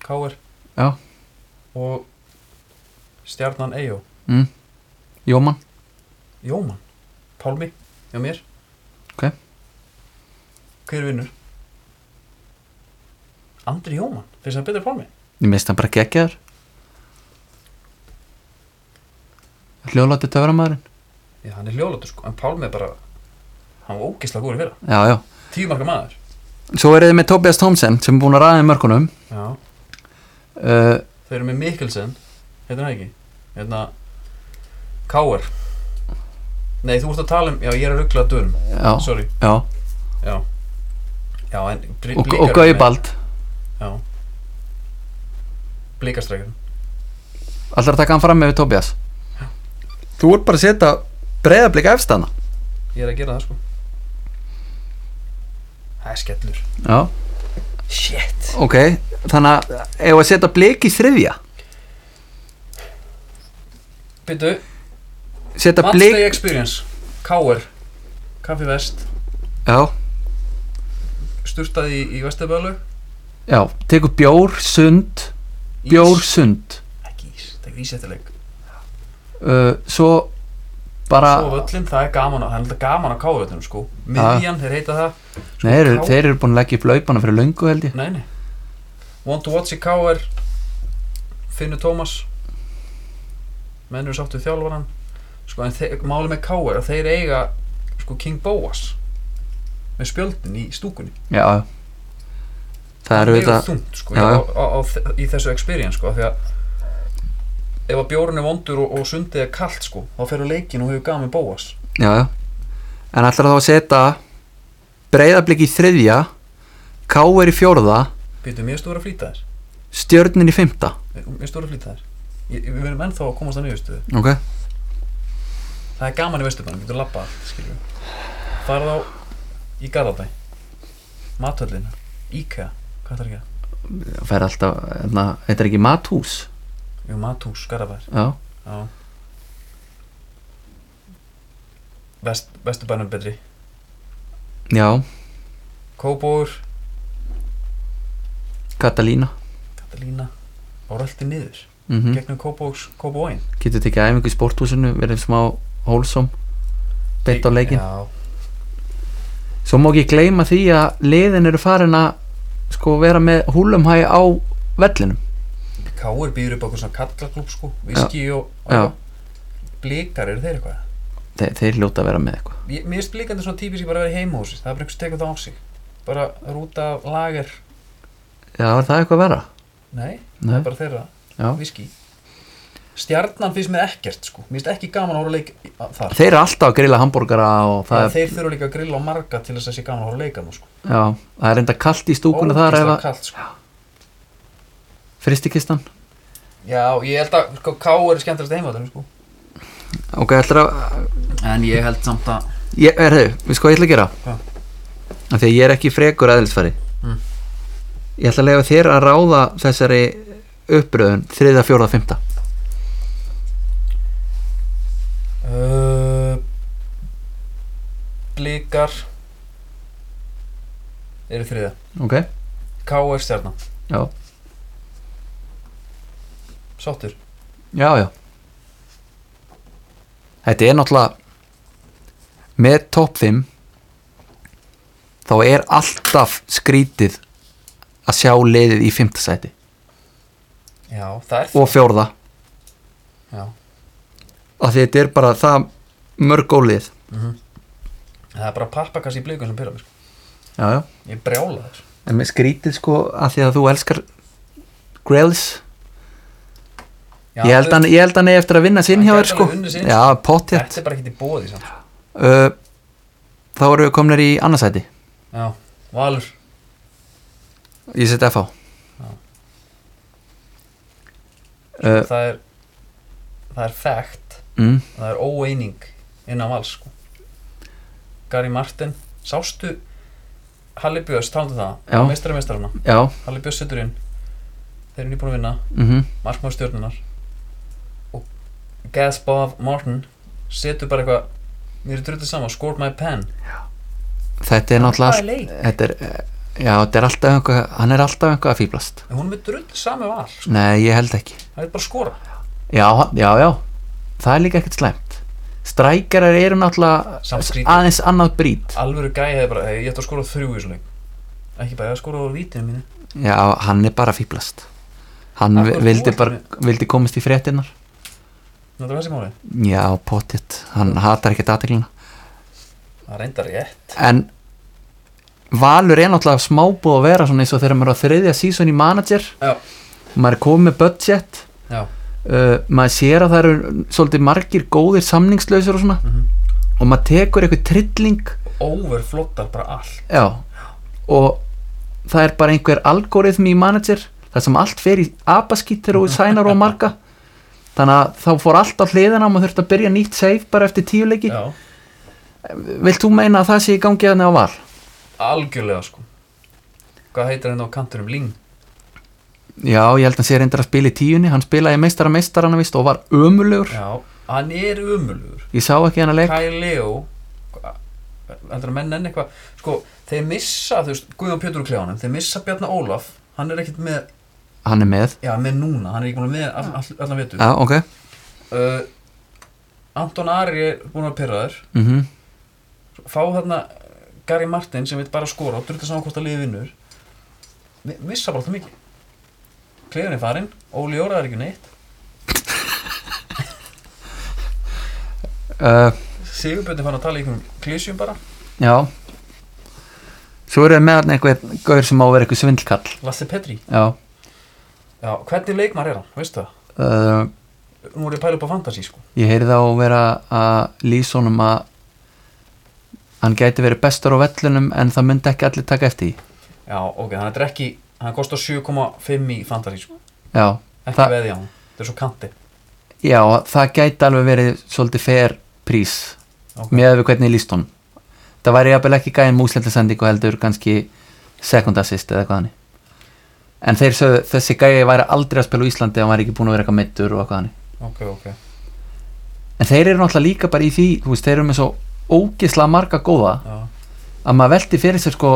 Speaker 2: Káir
Speaker 3: Já.
Speaker 2: og Stjarnan Eyjó
Speaker 3: mm. Jóman,
Speaker 2: Jóman, Pálmi, hjá mér
Speaker 3: Ok.
Speaker 2: Hver vinnur? Andri Jóman, finnst það betur Pálmi?
Speaker 3: ég mist hann bara geggjaður Hljóðlátti töframæðurinn
Speaker 2: Já, hann er hljóðlóttur sko, en Pálmi er bara hann var ógeðslega góður í fyrra,
Speaker 3: Já, já
Speaker 2: tíu marka maður
Speaker 3: Svo eru þið með Tobias Thompson sem er búin að ræða í mörkunum
Speaker 2: Já,
Speaker 3: uh,
Speaker 2: þau eru með Mikkelsen heitir hann ekki, hérna Káir Nei, þú ert að tala um, já, ég er að ruggla að dörum,
Speaker 3: Já,
Speaker 2: sorry
Speaker 3: já
Speaker 2: Já, já, en bli-
Speaker 3: Og,
Speaker 2: blikar
Speaker 3: og
Speaker 2: eru með-
Speaker 3: Gaubald
Speaker 2: Já Blíkastrækjum
Speaker 3: Allra taka hann fram með við Tobias Þú ert bara að setja breyðablika efstana
Speaker 2: Ég er að gera það sko Það er skellur
Speaker 3: Já,
Speaker 2: Shit
Speaker 3: ok Þannig að ef að setja blik í þriðja
Speaker 2: Byttu,
Speaker 3: Setja
Speaker 2: Matchday
Speaker 3: blik
Speaker 2: Experience Káir Kaffi Vest
Speaker 3: Já,
Speaker 2: Sturtaði í, í Vestabölu
Speaker 3: já, tekur bjór, sund Bjór, sund
Speaker 2: Ekki ís, það er ísettileg
Speaker 3: uh, Svo
Speaker 2: Svo
Speaker 3: bara
Speaker 2: völlin, það er gaman að, það er alltaf gaman að káa völlinu sko Miðjan, þeir heita það
Speaker 3: Nei, þeir,
Speaker 2: Ká-
Speaker 3: eru- þeir eru búin að leggja upp laupana fyrir löngu held ég
Speaker 2: Nei, nei Want to watch í káir Finnur Tómas Menn eru sátt við þjálfaran Sko, en þeir, máli með káir að þeir eiga sko King Boas með spjöldin í stúkunni
Speaker 3: Já, já Það eru
Speaker 2: Mjög
Speaker 3: þetta
Speaker 2: þungt sko,
Speaker 3: Já,
Speaker 2: já,
Speaker 3: já.
Speaker 2: á, á, á, þe- í þessu experience sko, af því að ef að bjórun er vondur og, og sundið er kalt sko, þá ferur leikin og hefur gaman bóas
Speaker 3: Já, já. En ætlar þá að setja breyðablik í þriðja, K.R. í fjórða,
Speaker 2: Býtu, mér stóður að flýta þér
Speaker 3: stjörnin í fymta.
Speaker 2: Mér stóður að flýta þér Ég- Við verðum ennþá að komast að niðurstöðu
Speaker 3: Ok.
Speaker 2: Það er gaman í vesturbænum, getur labba allt skilur við Farð á í Garðabæ Matöllina, Íka, hvað þarf ekki að
Speaker 3: Það fer alltaf, hérna, þetta er ekki mathús.
Speaker 2: Jú, Matús, Garðabær
Speaker 3: Já.
Speaker 2: Já Vest, Vesturbænum er betri
Speaker 3: Já,
Speaker 2: Kóbóur,
Speaker 3: Katalína.
Speaker 2: Katalína og rölti niður
Speaker 3: Mm -hmm.
Speaker 2: gegnum Kópavóks, Kópavóin
Speaker 3: Getur tekið æfingu í sporthúsinu, verið um smá hólsom, beitt á leikin.
Speaker 2: Já,
Speaker 3: Svo má ekki gleyma því að liðin eru farin að sko vera með húlumhæ á vellinum.
Speaker 2: Káur býður upp á okkur svona kallaklúb sko, viski og
Speaker 3: Já.
Speaker 2: blíkar eru þeir eitthvað
Speaker 3: Þe, þeir ljóta að vera með eitthvað
Speaker 2: Ég- Mér finnst blíkandi svona típisk ég bara að vera í heimahúsi það er bara eitthvað sem tekur það á sig bara rúta af lager
Speaker 3: Já, er það eitthvað vera?
Speaker 2: nei, það
Speaker 3: Nei.
Speaker 2: er bara þeirra
Speaker 3: Já.
Speaker 2: viski stjarnan finnst mér ekkert sko mér finnst ekki gaman að horfa á leik að- þar
Speaker 3: Þeir eru alltaf að grilla hambúrgara og
Speaker 2: það
Speaker 3: það er,
Speaker 2: þeir þurfa líka að grilla á marga til þess að sé gaman að horfa að leika nú sko
Speaker 3: já, það er enda kalt í stúkunni þar
Speaker 2: Ógeðslega
Speaker 3: eða
Speaker 2: kalt, sko.
Speaker 3: fristikistan.
Speaker 2: já, ég held að sko, K er skemmtilegst heimavöldunum sko
Speaker 3: Ok, ætlar að,
Speaker 2: en ég held samt að
Speaker 3: ég, er þau, við sko ég ætla að gera?
Speaker 2: Hvað?
Speaker 3: Af því að ég er ekki frekur aðeinsfæri.
Speaker 2: Mm.
Speaker 3: Ég ætla að lega þér að ráða þessari uppröðun þriða, fjórða, fymta.
Speaker 2: uh, blíkar eru þriða
Speaker 3: Ok,
Speaker 2: K er stjarnan
Speaker 3: já,
Speaker 2: sáttur
Speaker 3: já, já. Þetta er náttúrulega, með topp 5, þá er alltaf skrítið að sjá liðið í fymta sæti
Speaker 2: já, það er
Speaker 3: og fjórða.
Speaker 2: já.
Speaker 3: að því þetta er bara það mörg gólið
Speaker 2: Mhm. það er bara pappakassi í blíkun sem pyrra mér sko.
Speaker 3: já, já.
Speaker 2: ég brjála þess
Speaker 3: en með skrítið sko að því að þú elskar Grails
Speaker 2: já,
Speaker 3: ég held
Speaker 2: þau-
Speaker 3: hann, ég held hann eigi eftir að vinna sinn
Speaker 2: Hann
Speaker 3: hjá
Speaker 2: gæti
Speaker 3: þér sko
Speaker 2: alveg unnið sinn,
Speaker 3: já, pottjætt
Speaker 2: þetta er bara ekkert í bóði samt
Speaker 3: uh, þá eru við komnir í annarsæti
Speaker 2: já, Valur
Speaker 3: ég seti FH
Speaker 2: Já.
Speaker 3: uh,
Speaker 2: það er það er fact
Speaker 3: mm,
Speaker 2: það er óeining innan vals sko. Gary Martin sástu Halli Björns, talandu
Speaker 3: Já.
Speaker 2: það, meistari meistarana
Speaker 3: já
Speaker 2: Halli Björns setur inn þeir eru nýbúin að vinna,
Speaker 3: mm
Speaker 2: markmaður stjórnunar og Gaz Bob Martin setur bara eitthvað mér er drullið saman, scored my pen
Speaker 3: þetta er náttúrulega
Speaker 2: er leik?
Speaker 3: allt- þetta er, eh, já, þetta er alltaf einhver, hann er alltaf einhver að fýblast
Speaker 2: en hún er með drullið saman val sko.
Speaker 3: nei, ég held ekki
Speaker 2: það er bara að skora
Speaker 3: Já, já, já Það er líka ekkert slæmt Strækjarar eru náttúrulega
Speaker 2: Samt skrítið.
Speaker 3: aðeins annað brít
Speaker 2: alvöru gæði hefði bara, hey, ég ætti að skora þrjú í svo leik ekki bara, ég ætti að skora á vítinu mínu
Speaker 3: Já, hann er bara fýblast Hann
Speaker 2: Af hverju
Speaker 3: vildi,
Speaker 2: þú ert
Speaker 3: bara, vildi komast í fréttinnar
Speaker 2: það er þessi máli,
Speaker 3: Já, pottitt, hann hatar ekki dataklina
Speaker 2: það reyndar rétt
Speaker 3: En Valur er náttúrulega smábúð að vera svona eins og þegar maður er á þriðja sísón í manager
Speaker 2: já,
Speaker 3: maður er komið með budget
Speaker 2: já,
Speaker 3: uh, maður sér að það eru svolítið margir góðir samningslausir og svona
Speaker 2: mhm
Speaker 3: og maður tekur eitthvað trilling
Speaker 2: overflottar bara allt
Speaker 3: Já, og það er bara einhver algoritmi í manager þar sem allt fer í apaskítir og sænar og marga þannig að þá fór allt á hliðina og maður þurfti að byrja nýtt save bara eftir tíu leiki
Speaker 2: já,
Speaker 3: Vilt þú meina að það sé í gangi að á val?
Speaker 2: algjörlega sko hvað heitir henni á kantunum Ling
Speaker 3: Já, ég held að hann sé reyndar að spila í tíunni hann spilaði meistara meistarana vist og var ömulegur
Speaker 2: já, hann er umulugur
Speaker 3: Ég sá ekki hann að leik
Speaker 2: Kyle Leo hva- heldur að menn enn eitthvað sko, þeir missa, þú veist, Guðjón Pétur úr kljáðanum þeir missa Bjarni Ólaf, hann er ekkert með
Speaker 3: Hann er með
Speaker 2: já, með núna, hann er ekki búin að með all, all, allan vetur
Speaker 3: Já, ok
Speaker 2: uh, Anton Ari er búin að pyrra þér
Speaker 3: mm
Speaker 2: fá þarna uh, Gary Martin sem vil bara skora og drutta saman hvort að liði vinnur Mi- missa bara það mikið Kleifin er farinn, Óli Jóra er ekki neitt
Speaker 3: uh,
Speaker 2: Sigurbjörn er fann að tala í einhverjum klísjum bara
Speaker 3: Já Svo eru við með hann einhver gaur sem á að vera einhver svindlkall
Speaker 2: Lasse Petri,
Speaker 3: Já
Speaker 2: já, hvernig leikmar er hann, veistu það?
Speaker 3: uh,
Speaker 2: Nú er ég að pæla upp á fantasy sko
Speaker 3: Ég heyrði á að vera að lýsa honum að hann gæti verið bestur á vellunum en það myndi ekki allir taka eftir því.
Speaker 2: Já, ok, hann er ekki, hann kostar 7,5 í fantasy sko
Speaker 3: Já,
Speaker 2: Ekki
Speaker 3: Þa-
Speaker 2: Þa... veði á hann, þetta er svo kanti
Speaker 3: já, það gæti alveg verið svolítið fair prís
Speaker 2: Ok.
Speaker 3: með við hvernig ég lýst honum. Það væri jafnvel ekki gæðin múslandasendingu heldur kannski second assist eða eitthvað hann. En þeir sögðu þessi gæði væri aldrei að spila á Íslandi ef hann væri ekki búin að vera eitthvað meittur og eitthvað hann.
Speaker 2: Ok, ok
Speaker 3: En þeir eru náttúrulega líka bara í því, þú veist, þeir eru með svo ógisla marga góða
Speaker 2: Já,
Speaker 3: að maður velti fyrir sér sko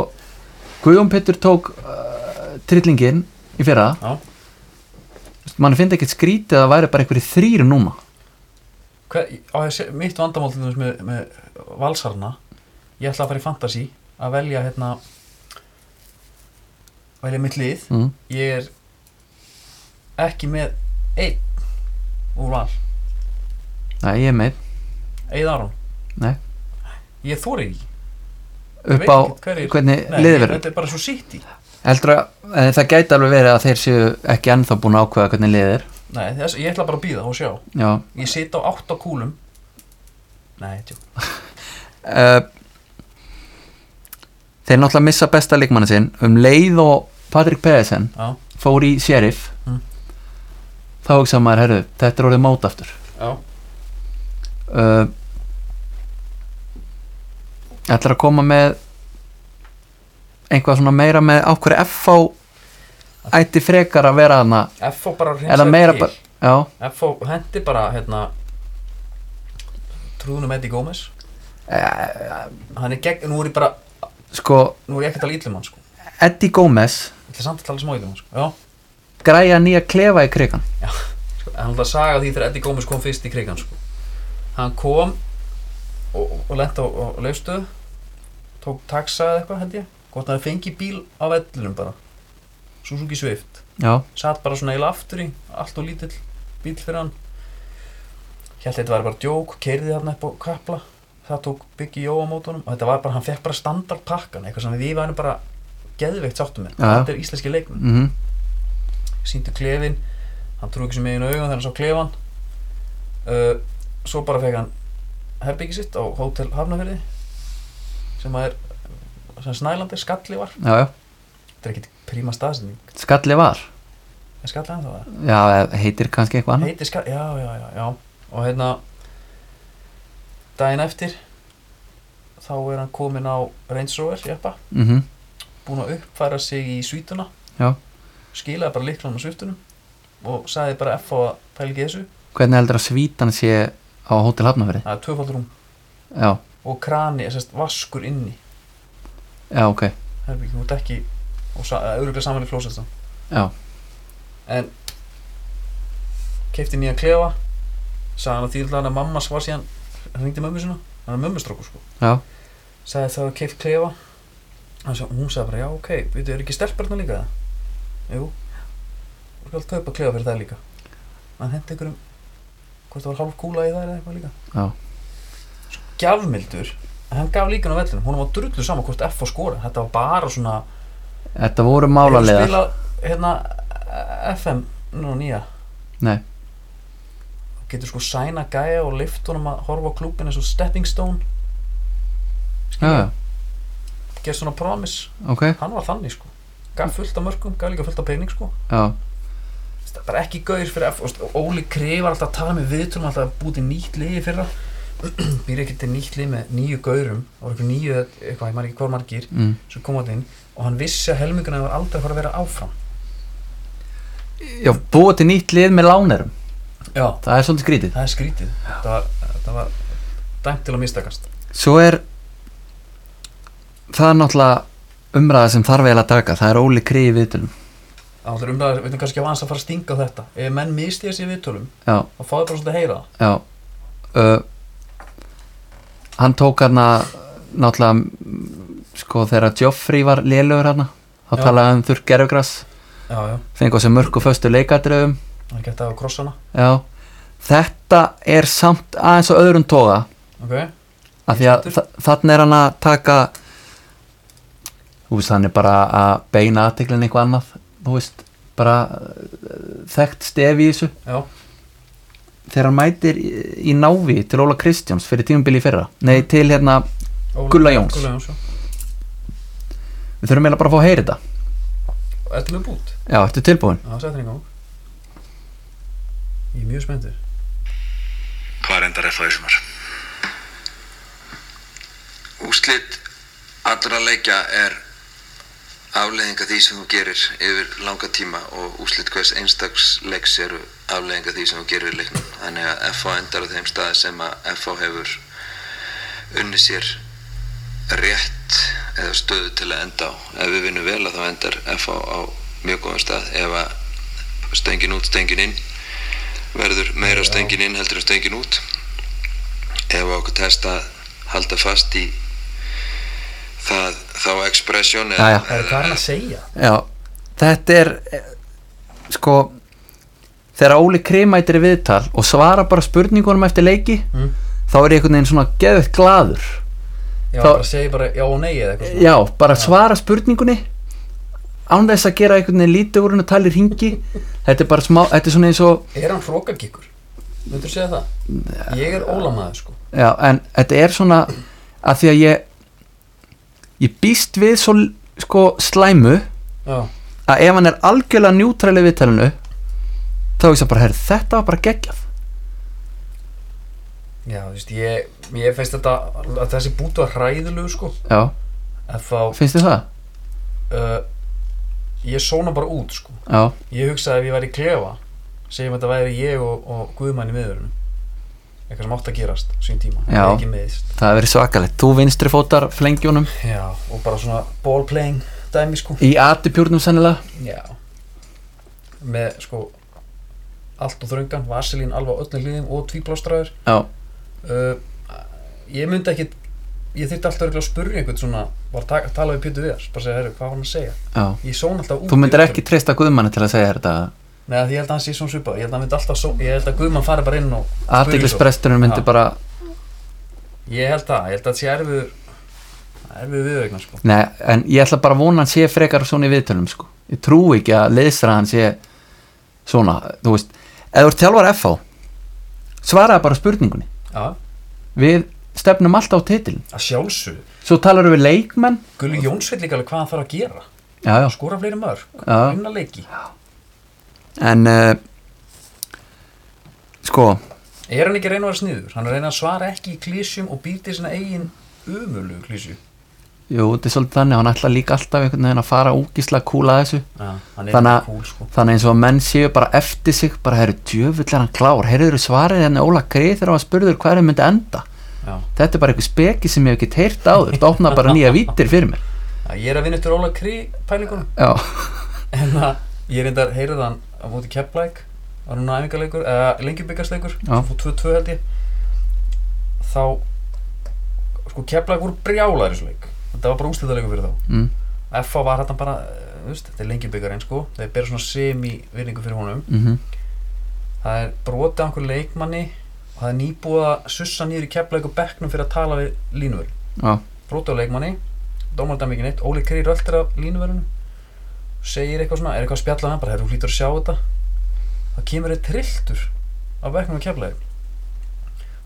Speaker 3: Guðjón Pétur tók uh, trillingin í fyrra
Speaker 2: já.
Speaker 3: mann finnst ekkert skrítið að það væri bara einhverjir þrýr núna
Speaker 2: Hver, á, ég sé- mitt vandamál til dæmis með, með valsarna ég ætla að fara í fantasy að velja hérna velja mitt lið
Speaker 3: mm.
Speaker 2: ég er ekki með einn úr val
Speaker 3: Nei, Nei, ég er með
Speaker 2: Eða Aron
Speaker 3: Nei.
Speaker 2: Ég þóri ekki Ég
Speaker 3: upp
Speaker 2: veit
Speaker 3: á
Speaker 2: ekkert hverjir-
Speaker 3: hvernig
Speaker 2: Nei,
Speaker 3: liðið verður
Speaker 2: Þetta er bara svo sitt í
Speaker 3: heldur að e, það gæti alveg verið að þeir séu ekki ennþá búin að ákveða hvernig liðið er
Speaker 2: Nei, þess, ég ætla bara að býða og sjá
Speaker 3: já
Speaker 2: Ég sit á átta kúlum Nei, tjó
Speaker 3: uh, þeir náttúrulega missa besta leikmanni sinn um leið og Patrik Pedersen
Speaker 2: Já,
Speaker 3: fór í sheriff
Speaker 2: Mm.
Speaker 3: þá hugsa maður, herðu, þetta er orðið mót aftur
Speaker 2: já
Speaker 3: uh, ætlar að koma með eitthvað svona meira með á hverju FH ætti frekar að vera þarna
Speaker 2: F.O. bara
Speaker 3: eða meira bara, já,
Speaker 2: F.O. hendi bara, hérna Trúðunum Eddie Gómez Hann er gegn, nú er ég bara
Speaker 3: sko
Speaker 2: Nú er ég ekki að tala ítlum hann, sko
Speaker 3: Eddie Gómez
Speaker 2: Ég ætla samt að tala smá ítlum hann, sko Já,
Speaker 3: græja nýja klefa í krigan
Speaker 2: sko, hann ætla að saga því þegar Eddie Gómez kom fyrst í krigan, sko Hann kom Og, og, og lent á, á laustuð Tók taxa eða eitthvað, held ég Hvort hann fengi bíl á vellunum bara Suzuki Swift
Speaker 3: já,
Speaker 2: satt bara svona eiginlega aftur í allt og lítill bíl fyrir hann held þetta var bara djók keiriði þarna upp á kapla það tók byggi jó á mótunum og þetta var bara, hann fekk bara standard pakkan eitthvað sem við varum bara geðveikt sáttum með,
Speaker 3: Já.
Speaker 2: þetta er íslenski leikmenn
Speaker 3: mhm
Speaker 2: sýndu klefin, hann trúi ekki sem megin augun þegar hann sá klefan uh, svo bara fekk hann herbyggi sitt á Hotel Hafnafjörði sem að er sem snælandi, skalli var
Speaker 3: já, já,
Speaker 2: þetta er ekkit príma staðsending,
Speaker 3: Skalli var
Speaker 2: er skalli hann þá það?
Speaker 3: já, eða heitir kannski eitthvað annað
Speaker 2: heitir skall, já, já, já, já og hérna daginn eftir þá er hann kominn á Range Rover jeppa,
Speaker 3: mhm,
Speaker 2: búinn að uppfæra sig í svítuna
Speaker 3: Já.
Speaker 2: skilaði bara líklanum á sviftunum og sagði bara F á að pæla ekki í þessu
Speaker 3: hvernig heldur að svítan sé á Hótel Hafnafjörði
Speaker 2: það er tvöfaldrúm
Speaker 3: já,
Speaker 2: og krani, sérst, vaskur inni
Speaker 3: já, ok,
Speaker 2: herbyggjum út ekki og sa, öruglega saman í flósettan
Speaker 3: já,
Speaker 2: en keipti nýja klefa sagði hann að þýrlega að mamma svar síðan hann ringdi mömmu sinna, hann er mömmustrókur sko
Speaker 3: já
Speaker 2: sagði það að keift klefa hann sagði, hún sagði bara, já ok, við þau eru ekki stelparna líka það? Jú, þú skal kaupa klefa fyrir það líka hann hendi einhverjum hvort það var hálf kúla í það eða eitthvað líka
Speaker 3: Já.
Speaker 2: Svo gjafmildur, hann gaf líka á vellinum hún var drullu saman hvort F á skora þetta var bara svona
Speaker 3: þetta voru
Speaker 2: Hefurðu
Speaker 3: málaliðar
Speaker 2: spilað, hérna, FM nú nýja
Speaker 3: Nei.
Speaker 2: Þú getur sko sæna gæja og lift honum að horfa á klúbin eins og Stepping Stone
Speaker 3: já, já,
Speaker 2: gerð svona promise
Speaker 3: ok,
Speaker 2: hann var þannig sko gaf fullt af mörgum, gaf líka fullt af pening sko
Speaker 3: já,
Speaker 2: Það er bara ekki gaur fyrir F og og Óli Krif var alltaf að tala með viðtölum alltaf að búið til nýtt liði fyrra [CLEARS THROAT] býr ekki til nýtt liði með nýju gaurum og eitthvað nýju, eða eitthvað, ég maður ekki hvað margir
Speaker 3: mm.
Speaker 2: sem kom á inn og hann vissi að helminguna var aldrei að fara að vera áfram
Speaker 3: já, búið til nýtt lið með lánerum
Speaker 2: já,
Speaker 3: það er svolítið skrítið
Speaker 2: það er skrítið þetta var, þetta var dæmt til að mistakast
Speaker 3: svo er það er náttúrulega umræða sem þarf eiginlega að taka það er Óli Kri í viðtölum
Speaker 2: Það er umræður, við veitum kannski að hans að fara að stinga á þetta Ef menn misti þessi viðtölum,
Speaker 3: já,
Speaker 2: þá fáðu bara svolítið að heyra það
Speaker 3: Já uh, Hann tók hana náttúrulega mm, sko þegar Joffrey var lélögur hana þá
Speaker 2: Já.
Speaker 3: talaði hann um þurr gerfgras
Speaker 2: Já, já,
Speaker 3: fengið sem mörg og föstu leikadröfum
Speaker 2: hann gett að hafa krossana
Speaker 3: Já Þetta er samt aðeins á öðrum toga
Speaker 2: Ok,
Speaker 3: af því að þa- þarna er hann að taka þú veist hann er bara að beina aðteklinn eitthvað annað þú veist bara uh, þekkt stefi í þessu
Speaker 2: já,
Speaker 3: þegar hann mætir í, í návi til Óla Kristjáns fyrir tímubili í fyrra nei til hérna,
Speaker 2: Óla-
Speaker 3: Gulla Jóns.
Speaker 2: Gulla Jóns, já
Speaker 3: við þurfum eiginlega bara að fá að heyra þetta
Speaker 2: Ertu með bút?
Speaker 3: já, ertu tilbúin?
Speaker 2: Já, setja hann í gang Ég er mjög spenntur
Speaker 1: Hvað endar F.A. í sumar?
Speaker 4: Úslit allra leikja er afleiðinga því sem þú gerir yfir langa tíma og úslit hvers einstaks leiks eru afleiðinga því sem þú gerir í leiknum. Þannig að F.A. endar á þeim staði sem að F.A. hefur unni sér rétt eða stöðu til að enda á. Ef við vinnum vel að þá endar F.A. á mjög góðum stað. Ef að stöngin út, stöngin inn verður meira stöngin inn heldur en stöngin út ef okkur test að halda fast í það, þá expression eða,
Speaker 3: Jæja.
Speaker 2: Það er hvað er hann að segja?
Speaker 3: já, þetta er eh, sko þegar Óli Krimætir er viðtal og svara bara spurningunum eftir leiki
Speaker 2: Mm.
Speaker 3: þá er ég einhvern veginn svona geðvett glaður
Speaker 2: Já,
Speaker 3: Þá-
Speaker 2: bara segi bara já og nei eða eitthvað svona
Speaker 3: já, bara svara spurningunni án þess að gera einhvern veginn lítið úr hún og tala í ringi þetta er bara smá, þetta er svona eins og
Speaker 2: Er hann hrókagikkur? Myndur segja það? Ég er ólamaður sko
Speaker 3: Já, en þetta er svona að því að ég ég býst við svo sko slæmu
Speaker 2: Já,
Speaker 3: að ef hann er algjörlega njútrali viðtælinu þá er ég bara, herri, þetta var bara geggjað
Speaker 2: já þú veist, ég, ég finnst þetta að þessi bútu var hræðilegu sko
Speaker 3: Já,
Speaker 2: En þá,
Speaker 3: finnst þið það?
Speaker 2: uh, ég sóna bara út sko
Speaker 3: Já,
Speaker 2: Ég hugsaði ef ég væri í klefa segjum þetta væri ég og, og Guðmann í miðurinn eitthvað sem átt að gerast á sín tíma,
Speaker 3: Já.
Speaker 2: Ég ekki meðist
Speaker 3: það hefur verið svakalegt þú vinstri fótar flengjónum
Speaker 2: Já, og bara svona ball playing dæmi sko
Speaker 3: í atipjórnum sennilega
Speaker 2: Já með sko allt og þröngan, vaselín alveg á öllum hliðum og tvíblástræður
Speaker 3: Já,
Speaker 2: uh, ég myndi ekki ég þyrfti alltaf örugglega að spurja einhvern svona var að taka- tala við Pétur Viðars bara segja, herru, hvað var hann að segja
Speaker 3: já
Speaker 2: ég són alltaf út
Speaker 3: Þú
Speaker 2: í
Speaker 3: myndir
Speaker 2: viðtölum.
Speaker 3: ekki treysta Guðmanni til að segja þetta
Speaker 2: Nei, af því ég held að hann sé svona svipað ég held að hann myndi alltaf só, ég held að Guðmann fari bara inn og spurja
Speaker 3: Atiklisbresturinn myndi
Speaker 2: Já.
Speaker 3: bara
Speaker 2: svo. ég held að, ég held að það sé erfiður erfiður viðveikna sko
Speaker 3: Nei, en ég ætla bara að vona hann sé frekar svona í viðtölum sko. Ég trúi ekki að leðsra hann sé svona, þú veist Ef þú ert þjálfar FH svaraði bara spurningunni
Speaker 2: já,
Speaker 3: Við stefnum alltaf á titilin
Speaker 2: að sjálfsög
Speaker 3: Svo talar við leikmenn
Speaker 2: Gulli Jónsveit líka alveg hvað hann þarf að gera
Speaker 3: Já, sko. já
Speaker 2: skora fleiri mörg,
Speaker 3: Já.
Speaker 2: vinna leiki
Speaker 3: En uh, sko,
Speaker 2: er hann ekki að reyna að vera sniður, hann er að reyna að svara ekki í klísjum og býti sinna eigin umölu klísju
Speaker 3: jú, þetta er svolítið þannig hann ætla líka alltaf einhvern veginn að fara úkislega kúla að þessu
Speaker 2: já, hann er
Speaker 3: Þannig að-
Speaker 2: cool sko
Speaker 3: Þannig eins og að menn séu bara eftir sig bara heyrðu djöfull er hann klár, heyrðu svarið henni Óla Greið þegar hann var spurður hvað er myndi enda
Speaker 2: já.
Speaker 3: þetta er bara eitthvað speki sem ég hef ekki teirt áður þetta opnaði bara nýja vítir fyrir mér
Speaker 2: Já, ég er að vinna eftir Óla Krí pælingunum
Speaker 3: já,
Speaker 2: [LAUGHS] en að ég reyndar heyrið hann á móti Keplæk var núna æfingarleikur, eða lengjubikarleikur
Speaker 3: Já.
Speaker 2: sem fór 2-2 held ég þá sko Keplæk voru brjálæri svo leik þetta var bara úslitaleikur fyrir þá
Speaker 3: mm,
Speaker 2: FA var þetta bara, eh, þú veist, þetta er lengjubikarinn sko þeir bera svona semi virðingu fyrir honum
Speaker 3: mm
Speaker 2: það er brotið á einhver leikmanni og það er nýbúið að sussa nýður í Keplæk og bekknum fyrir að tala við línuvör
Speaker 3: já,
Speaker 2: brotið á leikmanni dómaldam ekki neitt, Óli Kri röltir af línuverðinu segir eitthvað svona, er eitthvað að spjalla við hann bara, herru, hún hlýtur að sjá þetta þá kemur eitt trilltur á verknum á keflaði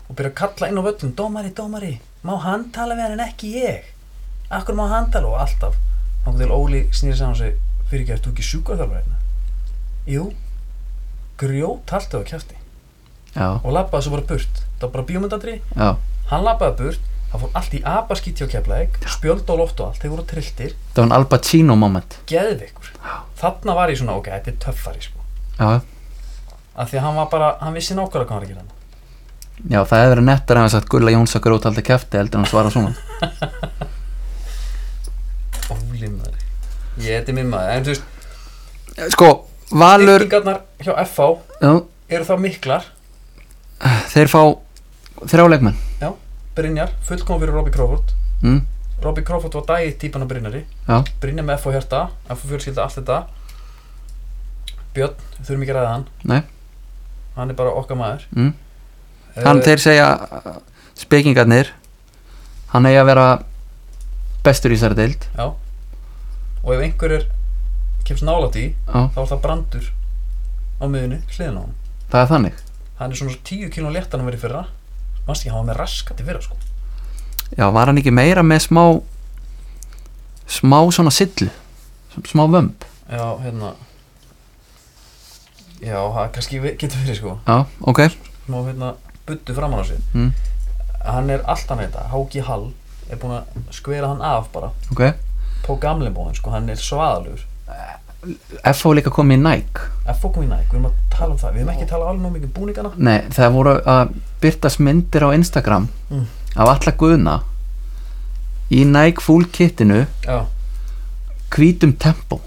Speaker 2: og byrja að kalla inn á völlum dómari, dómari, má hann tala við hann en ekki ég akkur má hann tala og alltaf þá til Óli snýri saman og segir fyrir ekki, ertu ekki sjúkarþjálfur hérna jú, grjót haltu á kæfti
Speaker 3: já,
Speaker 2: og labbaði svo bara burt það var bara bíómyndandri
Speaker 3: já
Speaker 2: hann lappaði burt það fór allt í abaskíti á keflaðeg spjöld á loft og allt, þeir voru trilltir
Speaker 3: þetta var en Al Pacino moment
Speaker 2: geðveikur, þarna var ég svona ok, þetta er töffari sko
Speaker 3: já,
Speaker 2: af því að hann var bara, hann vissi nákvæmlega hvað hann var að gera hann
Speaker 3: já það hefur verið nettar að sagt Gulla Jónsakur út alltaf kæfti heldur en að svara svona
Speaker 2: óli maður, ég, þetta er minn maður en þú veist,
Speaker 3: sko, Valur
Speaker 2: byggingarnar hjá FH
Speaker 3: já,
Speaker 2: eru það miklar,
Speaker 3: þeir fá þrjá leikmenn
Speaker 2: já, Brynjar fullkom fyrir Robbie Crawford
Speaker 3: mm,
Speaker 2: Robbie Crawford var dæið típan af Brynjari
Speaker 3: já,
Speaker 2: Brynjar með FH hérta, FH fjölskylda allt þetta Björn, þurfum ekki að ræða hann
Speaker 3: nei
Speaker 2: hann er bara okkar maður
Speaker 3: mm. hann
Speaker 2: Eh,
Speaker 3: þeir segja uh, spekingarnir hann eigi að vera bestur í þessari deild
Speaker 2: Já Og ef einhver er kemst nála því
Speaker 3: já,
Speaker 2: þá er það brandur á miðunni hliðin á hann
Speaker 3: það er þannig
Speaker 2: Hann er svona 10 kílón léttan að vera í fyrra Manst ekki, hann var með raskat í fyrra sko
Speaker 3: já, var hann ekki meira með smá smá svona sillu smá vömb
Speaker 2: Já, hérna Já, það kannski ve- getur verið sko Hmm.
Speaker 3: já, ok,
Speaker 2: Má hérna buddu framan á sig
Speaker 3: Mm.
Speaker 2: Hann er alltaf með þetta Háki Hall er búin að skvera hann af bara
Speaker 3: ok
Speaker 2: Pó gamlebóðin sko, hann er svaðalugur
Speaker 3: FH líka komið í Nike
Speaker 2: Ef fókum í næg, við erum að tala um það Við erum ekki að tala alveg nóg mikið um búningana
Speaker 3: nei, það voru að byrtast myndir á Instagram
Speaker 2: Mm.
Speaker 3: af alla guðna í Nike full kitinu
Speaker 2: Já,
Speaker 3: hvítum tempo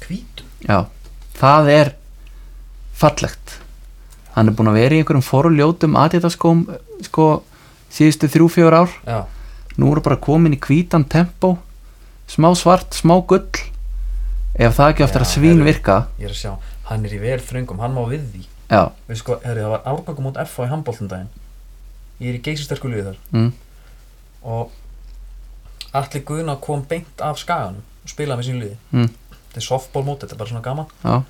Speaker 2: hvítum
Speaker 3: já, það er fallegt hann er búin að vera í einhverjum forljótum aðeitaskóm sko síðustu þrjú, fjör ár
Speaker 2: Já,
Speaker 3: nú eru bara komin í hvítan tempo smá svart, smá gull ef það ekki aftur
Speaker 2: Já,
Speaker 3: að svín
Speaker 2: herru.
Speaker 3: virka
Speaker 2: ég er að sjá hann er í vel þröngum, hann má við því
Speaker 3: já,
Speaker 2: veistu hvað, herri, það var árgangu mót FH í handbóltum daginn ég er í geisisterku liði þar
Speaker 3: mm,
Speaker 2: og allir guðna kom beint af skaganum og spilaði með sín liði
Speaker 3: mm,
Speaker 2: þetta er softball mót, þetta er bara svona gaman
Speaker 3: já,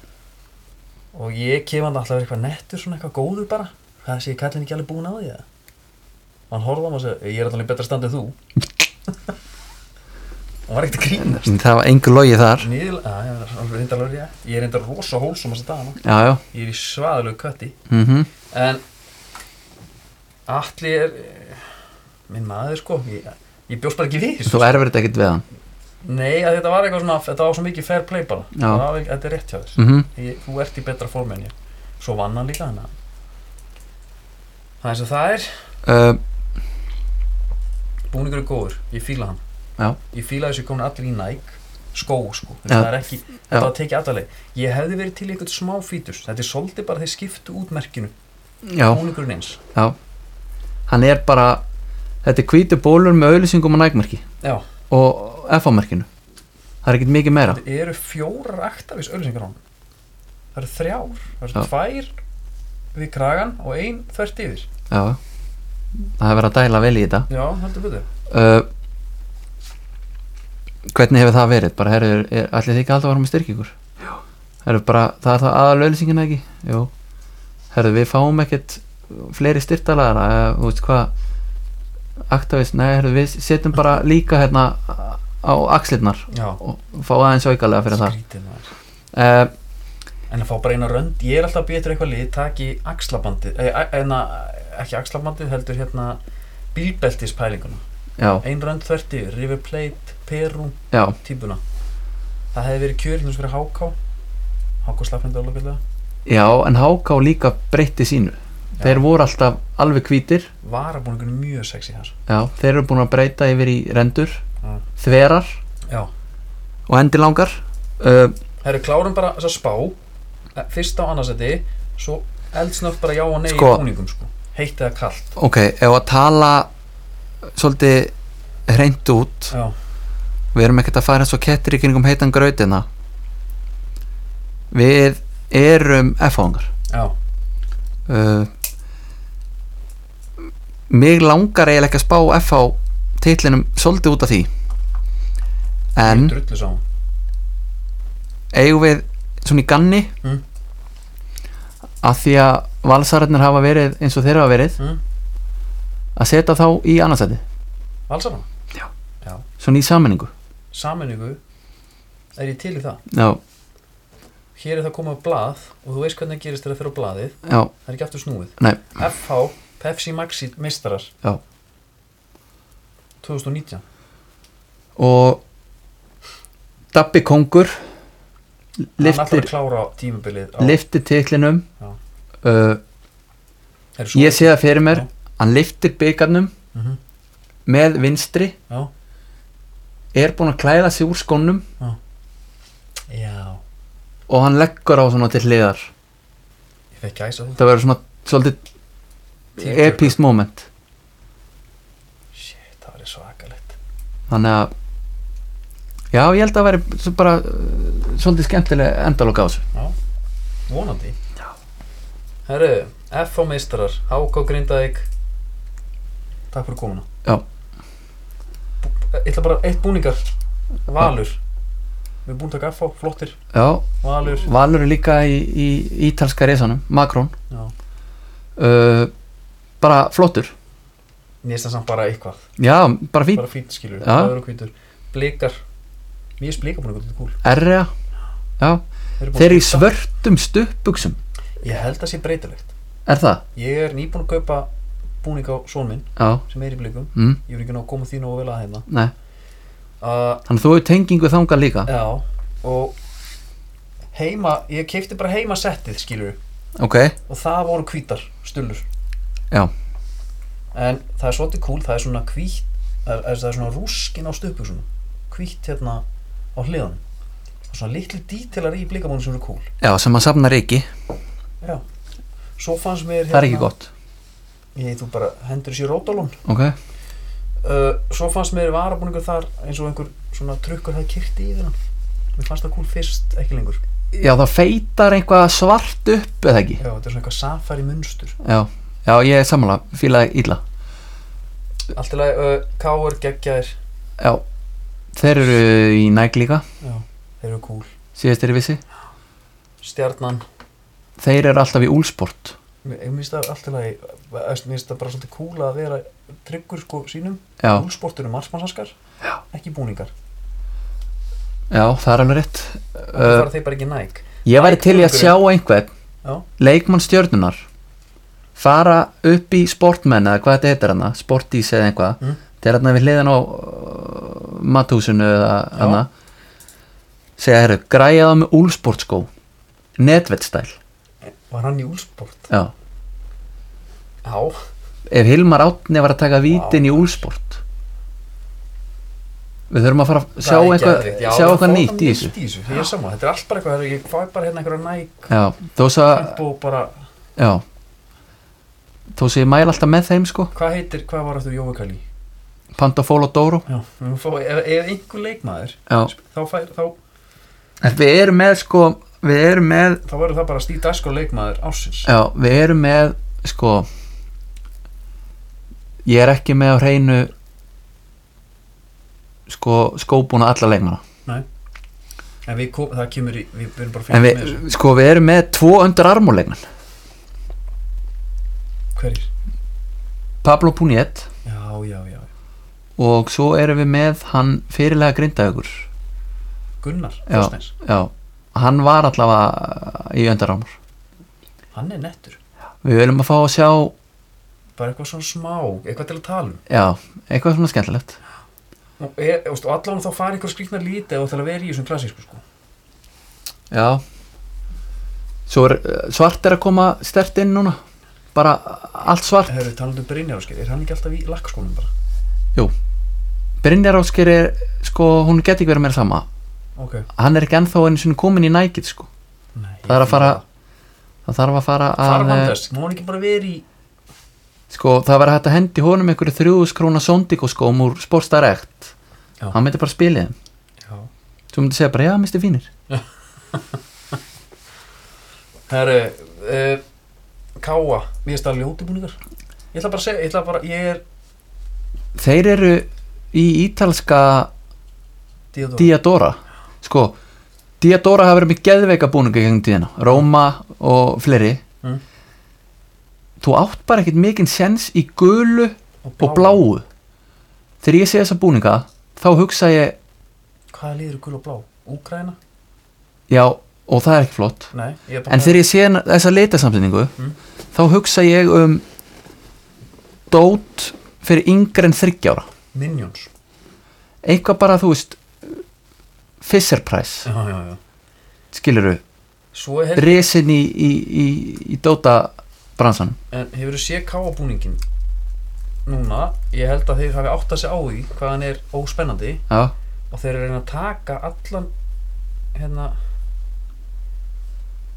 Speaker 2: og ég kem hann alltaf að vera eitthvað nettur svona eitthvað góður bara það sé kallin ekki alveg búin á því eða? og hann horfði á mig og segi ég er alveg betra stand en
Speaker 3: [LAUGHS]
Speaker 2: þú og hann var ekkert að grínast
Speaker 3: Mm, það var engu logi þar
Speaker 2: Nýðil, að, ég er alveg reyndar alveg rétt ég er reyndar rosa hólsum þess að dagana
Speaker 3: já, já,
Speaker 2: ég er í svaðalegu kötti
Speaker 3: mhm
Speaker 2: en Atli er eh, minn maður sko ég, ég bjóst bara ekki við
Speaker 3: þú erfir þetta ekkert við hann
Speaker 2: nei að þetta var eitthvað svona þetta var svo mikið fair play bara
Speaker 3: Já.
Speaker 2: Það var, þetta er rétt hjá þér
Speaker 3: mm
Speaker 2: ég, þú ert í betra formi en ég svo vann hann líka þannig að- það er eins og það er
Speaker 3: uh,
Speaker 2: búningur er góður, ég fíla hann
Speaker 3: Já.
Speaker 2: ég fíla þessu komin allir í Nike skó sko,
Speaker 3: Já.
Speaker 2: þetta er ekki
Speaker 3: Já.
Speaker 2: þetta var tekið allaleg, ég hefði verið til í eitthvað smá fítus, þetta er svolítið bara þeir skiptu út merkinu,
Speaker 3: já,
Speaker 2: búningurinn eins
Speaker 3: já hann er bara þetta er hvítu bólur með auðlýsingum og nægmerki
Speaker 2: já,
Speaker 3: og FA-merkinu það er ekkert mikið meira
Speaker 2: þetta eru fjórar aktavís öllisengar á hann það eru þrjár, það
Speaker 3: Já.
Speaker 2: eru tvær við kragan og ein þvert yfir
Speaker 3: já, það er verið að dæla vel í þetta
Speaker 2: já, heldur betur
Speaker 3: uh, hvernig hefur það verið bara herru, er- ætlið þið ekki alltaf að vara með styrkingur herru, bara, það er það aðal auðlýsingina ekki jú, herru, við fáum ekkert fleiri styrtalara eða, þú veist hvað Actavis, nei, herru, við setjum bara líka hérna á axlirnar
Speaker 2: já,
Speaker 3: og fá aðeins aukalega fyrir það
Speaker 2: skrítið maður
Speaker 3: uh,
Speaker 2: en að fá bara eina rönd, ég er alltaf að býja betur eitthvað lið taki axlabandið, eh, a- en að ekki axlabandið, heldur hérna bílbeltispælinguna
Speaker 3: já,
Speaker 2: ein rönd þverti, River Plate, Peru
Speaker 3: já,
Speaker 2: típuna það hefði verið kjör hins fyrir HK HK slappnandi álega
Speaker 3: já en Háká líka breytti sínu þeir voru alltaf alveg hvítir
Speaker 2: varabúningunum mjög sexy hans
Speaker 3: já, þeir eru búin að breyta yfir í rendur
Speaker 2: Já.
Speaker 3: þverar
Speaker 2: já,
Speaker 3: og endilangar uh,
Speaker 2: það eru klárum bara þess að spá eh, fyrst á annarsetti svo eldsnögt bara já og nei
Speaker 3: Sko.
Speaker 2: í búningum sko. heitt eða kalt
Speaker 3: ok, ef að tala svolítið hreint út
Speaker 2: já,
Speaker 3: við erum ekkert að fara eins og kettir í kringum heitan grautina við erum F-hangar
Speaker 2: já,
Speaker 3: uh, mig langar eiginlega ekki að spá F-há titlinum svolítið út af því en
Speaker 2: ég drullu sá
Speaker 3: eigum við svona í ganni
Speaker 2: Mm.
Speaker 3: að því að valsararnir hafa verið eins og þeir hafa verið
Speaker 2: Mm.
Speaker 3: að setja þá í annarsæti
Speaker 2: valsarana,
Speaker 3: svona í sammenningu
Speaker 2: sammenningu er ég til í það
Speaker 3: já,
Speaker 2: hér er það komið á blað og þú veist hvernig það gerist þegar það fyrir á blaðið
Speaker 3: já,
Speaker 2: það er ekki aftur snúið
Speaker 3: nei,
Speaker 2: FH, Pepsi Maxi mistarar
Speaker 3: Já.
Speaker 2: 2019
Speaker 3: og Dabbi Kongur
Speaker 2: hann ætlar að
Speaker 3: liftir,
Speaker 2: klára tímabilið á,
Speaker 3: liftir titlinum
Speaker 2: Já.
Speaker 3: uh,
Speaker 2: er
Speaker 3: ég sé það fyrir mér
Speaker 2: Já.
Speaker 3: hann liftir byggarnum
Speaker 2: Mhm.
Speaker 3: með vinstri
Speaker 2: já,
Speaker 3: er búinn að klæða sig úr skónum
Speaker 2: já,
Speaker 3: og hann leggur á svona til hliðar
Speaker 2: ég fekk gæsa þú
Speaker 3: það verður svona svolítið epíst moment
Speaker 2: shit, það var svakalegt
Speaker 3: þannig að já, ég held að veri svo bara uh, svolítið skemmtileg endalók á þessu
Speaker 2: vonandi já. herru, FH mistarar HK Grindavík takk fyrir komuna
Speaker 3: Já.
Speaker 2: Bú- ég ætla bara eitt búningar Valur við erum búin að taka FH, flottir
Speaker 3: já,
Speaker 2: Valur,
Speaker 3: Valur er líka í, í ítalska reysanum, Makrón
Speaker 2: já
Speaker 3: uh, bara flottur
Speaker 2: mér finnst það samt bara eitthvað
Speaker 3: já, bara fín,
Speaker 2: bara fýtt skilur,
Speaker 3: Já.
Speaker 2: rauður og hvítur blikar, mér finnst blikar búin að þetta kúl
Speaker 3: erja já,
Speaker 2: Þeir eru búin
Speaker 3: þeir
Speaker 2: að
Speaker 3: eru í
Speaker 2: skipta.
Speaker 3: svörtum stuppbuksum
Speaker 2: ég held að sé breytilegt
Speaker 3: er það?
Speaker 2: ég er nýbúin að kaupa búning á són minn
Speaker 3: já,
Speaker 2: sem er í blikum,
Speaker 3: mm,
Speaker 2: ég er ekki ná að koma því nógu vel að hérna
Speaker 3: nei
Speaker 2: uh,
Speaker 3: þannig að þú hefur tengingu þangað líka
Speaker 2: já, og heima, ég keipti bara heima settið skilur,
Speaker 3: ok,
Speaker 2: og það voru hvítar stullur
Speaker 3: Já.
Speaker 2: en það er svolítið kúl, það er svona hvít það er, það er svona rúskin á stöpu svona hvít hérna á hliðan og svona litli dítilar í blikamónu sem eru kúl
Speaker 3: já, sem að safna reiki
Speaker 2: Já, svo fannst mér hérna-
Speaker 3: það er ekki gott,
Speaker 2: Ég, þú bara hendur þessi rótalón
Speaker 3: ok
Speaker 2: uh, Svo fannst mér hérna. varabúningur þar eins og einhver svona trukkur hafði kyrkt í yfir hann Mér fannst það kúl fyrst, ekki lengur
Speaker 3: já það feitar eitthvað svart upp eða ekki
Speaker 2: Já, þetta er svona eitthvað safari munstur
Speaker 3: já, já ég er samanlega, fílaði illa
Speaker 2: Allt í lagi, uh, káur, geggjaðir
Speaker 3: já, þeir eru í næg líka
Speaker 2: Já, þeir eru cool
Speaker 3: síðast er ég vissi,
Speaker 2: Stjarnan,
Speaker 3: þeir eru alltaf í úlsport
Speaker 2: mér mér finnst það allt í lagi Mér finnst það bara svolítið cool að vera tryggur sko sínum
Speaker 3: já,
Speaker 2: Úlsportur um marsmannsaskar Ekki búningar
Speaker 3: já, það er alveg rétt
Speaker 2: Það
Speaker 3: uh,
Speaker 2: fara þeir bara ekki næk
Speaker 3: ég væri til í að sjá einhvern
Speaker 2: Já,
Speaker 3: leikmann stjörnunar fara upp í sportmenn eða hvað þetta heitir hana, sportís eða eitthvað
Speaker 2: Mm.
Speaker 3: þetta er hana við hliðan á uh, matúsinu eða hana segja herru, græja það með úlsportskó netvettstæl
Speaker 2: var hann í úlsport?
Speaker 3: já.
Speaker 2: Já,
Speaker 3: ef Hilmar Átni var að taka vítin í úlsport við þurfum að fara að sjá
Speaker 2: það er
Speaker 3: eitthvað,
Speaker 2: geðveikt. Já,
Speaker 3: sjá
Speaker 2: það
Speaker 3: eitthvað
Speaker 2: fór
Speaker 3: nýtt
Speaker 2: það
Speaker 3: í þessu
Speaker 2: nýtt í þessu. Ég er saman, þetta er allt bara eitthvað Ég fæ bara hérna einhverja næk
Speaker 3: já, þó svo
Speaker 2: Tempo bara,
Speaker 3: já, þó svo ég mæla alltaf með þeim sko
Speaker 2: hvað heitir, hvað var aftur Jói Kali?
Speaker 3: Pantofólo Dóru
Speaker 2: Já, við erum að fá- ef, ef einhver leikmaður
Speaker 3: já
Speaker 2: þá, fær, þá,
Speaker 3: En við erum með sko við erum með,
Speaker 2: þá verður það bara stíð dagskór leikmaður ásins
Speaker 3: já, við erum með sko ég er ekki með á hreinu sko skóbúna alla leikmana
Speaker 2: en við, kom, það kemur í, við verðum bara
Speaker 3: en
Speaker 2: fyrir með
Speaker 3: við,
Speaker 2: þessu
Speaker 3: sko við erum með tvo undir armúleikman
Speaker 2: hverjir?
Speaker 3: Pablo Puniet
Speaker 2: Já, já, já,
Speaker 3: og svo erum við með hann fyrirlega grindaðugur
Speaker 2: Gunnar
Speaker 3: Já.
Speaker 2: Þorsteins,
Speaker 3: já, hann var allavega uh, í undir armur
Speaker 2: hann er nettur
Speaker 3: við viljum að fá að sjá,
Speaker 2: bara eitthvað svona smá, eitthvað til að tala um
Speaker 3: já, eitthvað svona skemmtilegt
Speaker 2: og, er, og veistu, allan þá fari eitthvað skrýtna lítið og það að vera í þessum klassísku sko
Speaker 3: Já Svo er uh, svart er að koma stert inn núna Bara uh, allt svart
Speaker 2: hefur við talað um Brynjaráskeið, er hann ekki alltaf í lakkskónum bara?
Speaker 3: Brynjar Ásker er sko, hún geti ekki verið meira sama
Speaker 2: ok,
Speaker 3: Hann er ekki ennþá einu sinni komin í nækið sko
Speaker 2: nei
Speaker 3: Það er að fara Það þarf að fara að
Speaker 2: fara
Speaker 3: eh,
Speaker 2: vandast, má hann ekki bara vera í
Speaker 3: Sko það verður hægt að hendi honum einhverju þrjúðus króna sondikoskóm úr sportarekt
Speaker 2: Já.
Speaker 3: Hann myndi bara spilið þeim
Speaker 2: já,
Speaker 3: Svo myndi segja bara já, misti fínir
Speaker 2: Herru, uh, Káa, mér finnst það ljóti búningar Ég ætla bara að segja, ég ætla bara, ég er
Speaker 3: Þeir eru í ítalska
Speaker 2: Díador
Speaker 3: Diadora Sko, Diadora hafa verið með geðveika búninga gegnum tíðina, Róma og fleiri
Speaker 2: Mm.
Speaker 3: Þú átt bara ekkert mikinn sens í gulu og bláu Þegar ég sé þessa búninga þá hugsa ég,
Speaker 2: Hvað er liður í gul og blá? Úkraina?
Speaker 3: já, og það er ekki flott
Speaker 2: Nei, ég er bara
Speaker 3: En þegar ég sé henn- þessa litasamsetningu
Speaker 2: Mm.
Speaker 3: þá hugsa ég um dót fyrir yngri en þryggjára
Speaker 2: Minions
Speaker 3: Eitthvað bara, þú veist Fisher Price,
Speaker 2: Já, já, já
Speaker 3: skilurðu
Speaker 2: Svo er,
Speaker 3: risin í, í, í, í Dota bransan
Speaker 2: en hefur þú séð Káa búningin Núna, ég held að þeir hafi átt að segja á því hvað hann er óspennandi
Speaker 3: já,
Speaker 2: og þeir eru að reyna að taka allan hérna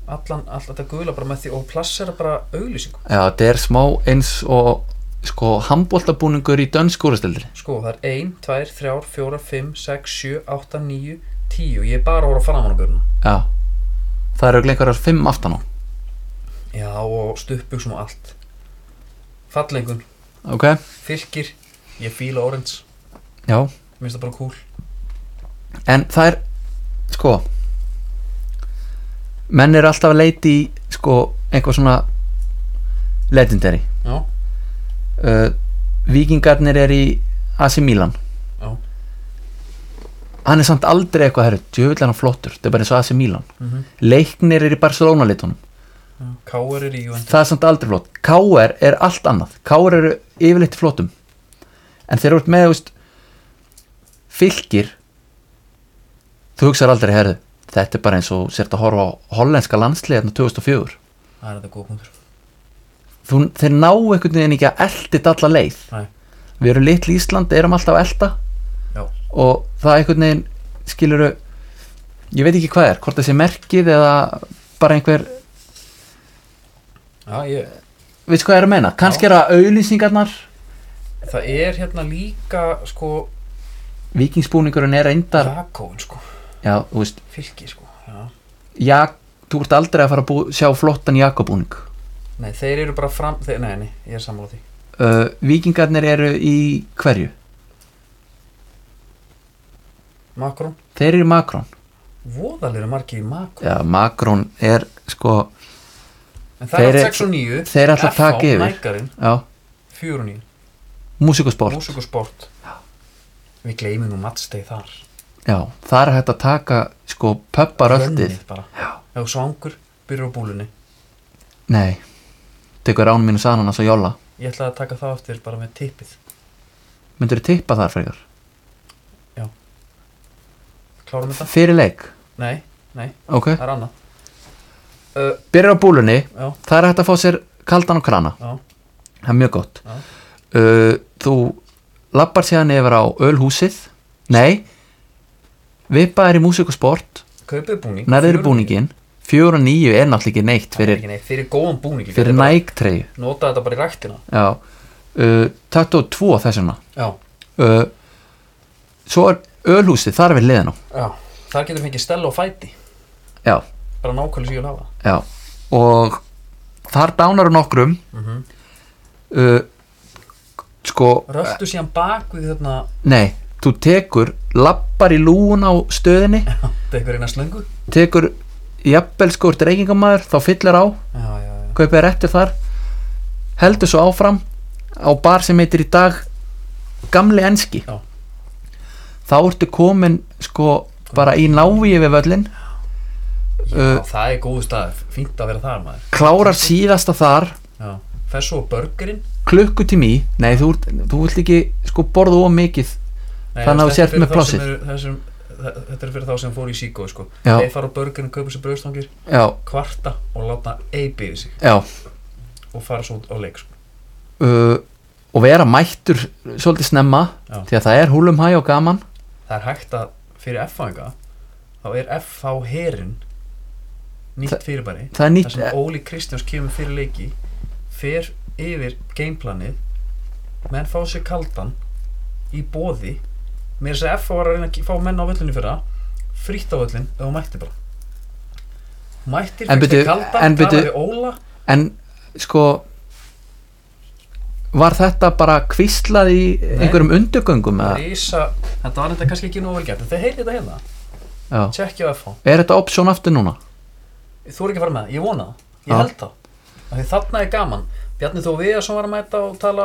Speaker 2: allan, allt þetta gula bara með því og plassera bara auglýsingu
Speaker 3: já, þetta er smá eins og sko handbóltabúningur í dönskúrastildri
Speaker 2: Sko, það er 1, 2, 3, 4, 5, 6, 7, 8, 9, 10 Ég er bara að horfa fram á görnum
Speaker 3: já, það eru einhverjar fimm aftan á
Speaker 2: Já, og stuppbuxum og allt Fallengun,
Speaker 3: ok,
Speaker 2: fylgir, ég fíla orange
Speaker 3: já,
Speaker 2: Mér finnst það bara cool
Speaker 3: en það er sko menn eru alltaf að leiti í sko eitthvað svona legendary
Speaker 2: Já,
Speaker 3: uh, vikingarnir er í AC Milan
Speaker 2: Já.
Speaker 3: hann er samt aldrei eitthvað herri, djöfull er hann flottur, þetta er bara eins og AC Milan
Speaker 2: mm -hmm.
Speaker 3: leiknir er í Barcelona litunum
Speaker 2: Káur er í Juventus
Speaker 3: það er samt aldrei flott KR er allt annað, KR eru yfirleitt í flottum en þeir eru út með þú veist, fylgir þú hugsar aldrei herðu, þetta er bara eins og sért að horfa á hollenska landslið hérna 2004
Speaker 2: Það er þetta góð punktur sko.
Speaker 3: þú, þeir ná einhvern veginn ekki að eldit alla leið
Speaker 2: Nei.
Speaker 3: við erum litl Ísland, erum alltaf að elda
Speaker 2: Já.
Speaker 3: og það einhvern veginn skilur ég veit ekki hvað er, hvort það sé merkið eða bara einhver,
Speaker 2: Já, ég
Speaker 3: veistu hvað ég er að meina kannski er það auðlýsingarnar
Speaker 2: Það er hérna líka, sko,
Speaker 3: vikingsbúningurinn er reyndar
Speaker 2: Jakobin, sko
Speaker 3: já, þú veist,
Speaker 2: Fylgir, sko Já,
Speaker 3: Jak, þú ert aldrei að fara að bú, sjá flottan jakobúning
Speaker 2: Nei, þeir eru bara fram þeir, Nei, nei, ég er sammála því
Speaker 3: uh, Víkingarnir eru í hverju?
Speaker 2: Makrón,
Speaker 3: Þeir eru í Makrón
Speaker 2: voðalega margir í Makrón
Speaker 3: Já, Makrón er sko
Speaker 2: En það
Speaker 3: þeir
Speaker 2: er
Speaker 3: eru-
Speaker 2: 6 og 9
Speaker 3: þeir ætla að taka yfir.
Speaker 2: Nækarinn,
Speaker 3: Já,
Speaker 2: 4 og 9
Speaker 3: músikusport
Speaker 2: Músík og sport Við gleymum nú matsteg þar
Speaker 3: Já, það er hægt að taka sko pöpparöltið
Speaker 2: Rönnið bara Ef þú svangur, byrjar á búlunni
Speaker 3: Nei, tekur án mínu sanan að svo jóla
Speaker 2: Ég ætla að taka það aftur bara með tippið
Speaker 3: Myndur þú tippa þar frekar?
Speaker 2: Klárum þetta?
Speaker 3: Fyrir leik,
Speaker 2: Nei, nei,
Speaker 3: ok
Speaker 2: það er annað uh,
Speaker 3: Byrjar á búlunni,
Speaker 2: Já,
Speaker 3: það er hægt að fá sér kaldan og krana
Speaker 2: já,
Speaker 3: Það er mjög gott
Speaker 2: Já.
Speaker 3: uh, Þú lappar síðan yfir á ölhúsið Nei Vippa er í músikusport
Speaker 2: kaupið búning
Speaker 3: Nærður
Speaker 2: fjögur-
Speaker 3: búningin 4 og 9 er náttúrulega ekki neitt
Speaker 2: Það er
Speaker 3: fyrir,
Speaker 2: ekki neitt, Fyrir góðan búning
Speaker 3: fyrir nægtreyju
Speaker 2: Nota þetta bara í ræktina
Speaker 3: Já uh, Taktu á 2 þessuna
Speaker 2: Já,
Speaker 3: uh, Svo er ölhúsið þar er við liðin á
Speaker 2: já Þar getur fengið stella og fæti
Speaker 3: Já,
Speaker 2: Bara nákvæmlega síðan hafa
Speaker 3: já Og þar dánar nokkrum
Speaker 2: mm -hmm.
Speaker 3: uh, Sko
Speaker 2: Röltu síðan bak við hérna, [LAUGHS] þarna
Speaker 3: Nei, þú tekur Lappar í lúun á stöðinni
Speaker 2: Það er eitthvað reyna slöngu
Speaker 3: tekur jafnvel sko úr reykingamæður þá fyllir á,
Speaker 2: Já, já, já
Speaker 3: kaupir réttir þar heldur svo áfram á bar sem heitir í dag gamli enski
Speaker 2: Já.
Speaker 3: þá ertu komin sko bara í návíi við völlin
Speaker 2: Já,
Speaker 3: Uh,
Speaker 2: það er góðu stað, fínt að vera þar maður
Speaker 3: klárar síðasta þar
Speaker 2: Já, fer svo á burgerinn
Speaker 3: klukkutími í, nei þú, ert- þú vilt ekki sko borða of mikið
Speaker 2: Nei,
Speaker 3: Þannig að þú
Speaker 2: þetta er
Speaker 3: sért
Speaker 2: fyrir
Speaker 3: með
Speaker 2: þá
Speaker 3: plássið.
Speaker 2: sem eru- það sem- þa- Þetta er fyrir þá sem fóru í síkó sko.
Speaker 3: Já.
Speaker 2: Þeir fara á burgerinn, kaupa sér brauðstangir
Speaker 3: já,
Speaker 2: Kvarta og láta eipi yfir sig
Speaker 3: já
Speaker 2: Og fara svo út á leik sko.
Speaker 3: uh, og vera mættur svolítið snemma
Speaker 2: Já.
Speaker 3: því að það er húlum hæ og gaman
Speaker 2: Það er hægt að fyrir F-fanga Þá er F-fá herin Nýtt fyrirbæri
Speaker 3: það er
Speaker 2: þar
Speaker 3: nýtt,
Speaker 2: sem Óli Kristjáns kemur fyrir leiki fer yfir gameplanið menn fá sér kaldan í bóði mér þess að F var að reyna að fá menn á völlinu fyrir það frýtt á völlin ef hún mætti bara mættir fyrir
Speaker 3: En byrju,
Speaker 2: sér kaldan
Speaker 3: en
Speaker 2: talaði
Speaker 3: byrju-
Speaker 2: við Óla
Speaker 3: En sko Var þetta bara kvíslað í einhverjum undugöngum eða?
Speaker 2: Rísa, þetta var þetta kannski ekki nógu vel gert en þið heyrið þetta hérna,
Speaker 3: Já.
Speaker 2: tjekkja á F
Speaker 3: Er þetta option aftur núna?
Speaker 2: þú er ekki að fara með það, ég vona það, ég
Speaker 3: Já.
Speaker 2: held það af því þarna er gaman, Bjarni Þó Viðarsson var að mæta og tala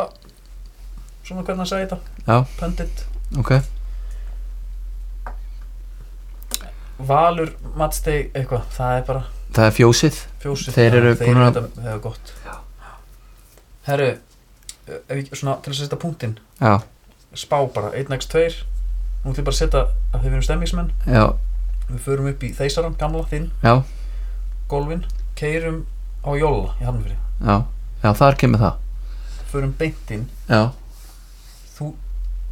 Speaker 2: svona hvernig hann sagði þetta,
Speaker 3: Já,
Speaker 2: pöndit
Speaker 3: ok
Speaker 2: Valur, Matsteg, eitthvað, það er bara
Speaker 3: Það er fjósið
Speaker 2: fjósið
Speaker 3: Þeir eru
Speaker 2: þeir
Speaker 3: búin
Speaker 2: eru
Speaker 3: að-
Speaker 2: þetta, það er gott Herru, ef ekki svona til að setja punktinn,
Speaker 3: Já,
Speaker 2: spá bara 1x2, nú ætlum við bara að setja að þið verðum stemmingsmenn,
Speaker 3: já,
Speaker 2: við förum upp í þeysaran, gamla, þinn,
Speaker 3: já,
Speaker 2: golfin keirum á Jóla í Hafnfyrir
Speaker 3: já Já, þar kemur það
Speaker 2: förum beintinn,
Speaker 3: Já,
Speaker 2: þú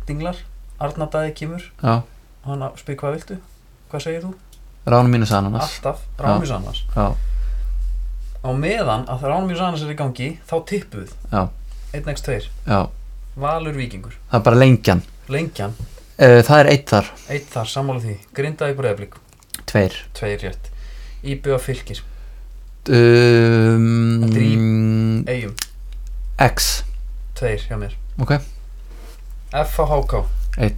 Speaker 2: dinglar Arnardæði kemur,
Speaker 3: já,
Speaker 2: hann að spyr hvað viltu hvað segir þú?
Speaker 3: ránum mínus ananas
Speaker 2: Alltaf, Rámjus Annars
Speaker 3: Já,
Speaker 2: á meðan að það Rámjus Annars er í gangi þá tippum við,
Speaker 3: já,
Speaker 2: 1x2
Speaker 3: já
Speaker 2: Valur Víkingur
Speaker 3: Það er bara lengjan
Speaker 2: Lengjan,
Speaker 3: uh, Það er eitt þar,
Speaker 2: eitt þar, sammála því Grindaði breyðablík,
Speaker 3: tveir
Speaker 2: tveir rétt Íbjöða fylgir, Þetta er í-
Speaker 3: um,
Speaker 2: eigum,
Speaker 3: X
Speaker 2: tveir hjá mér
Speaker 3: Ok,
Speaker 2: FHK
Speaker 3: Einn.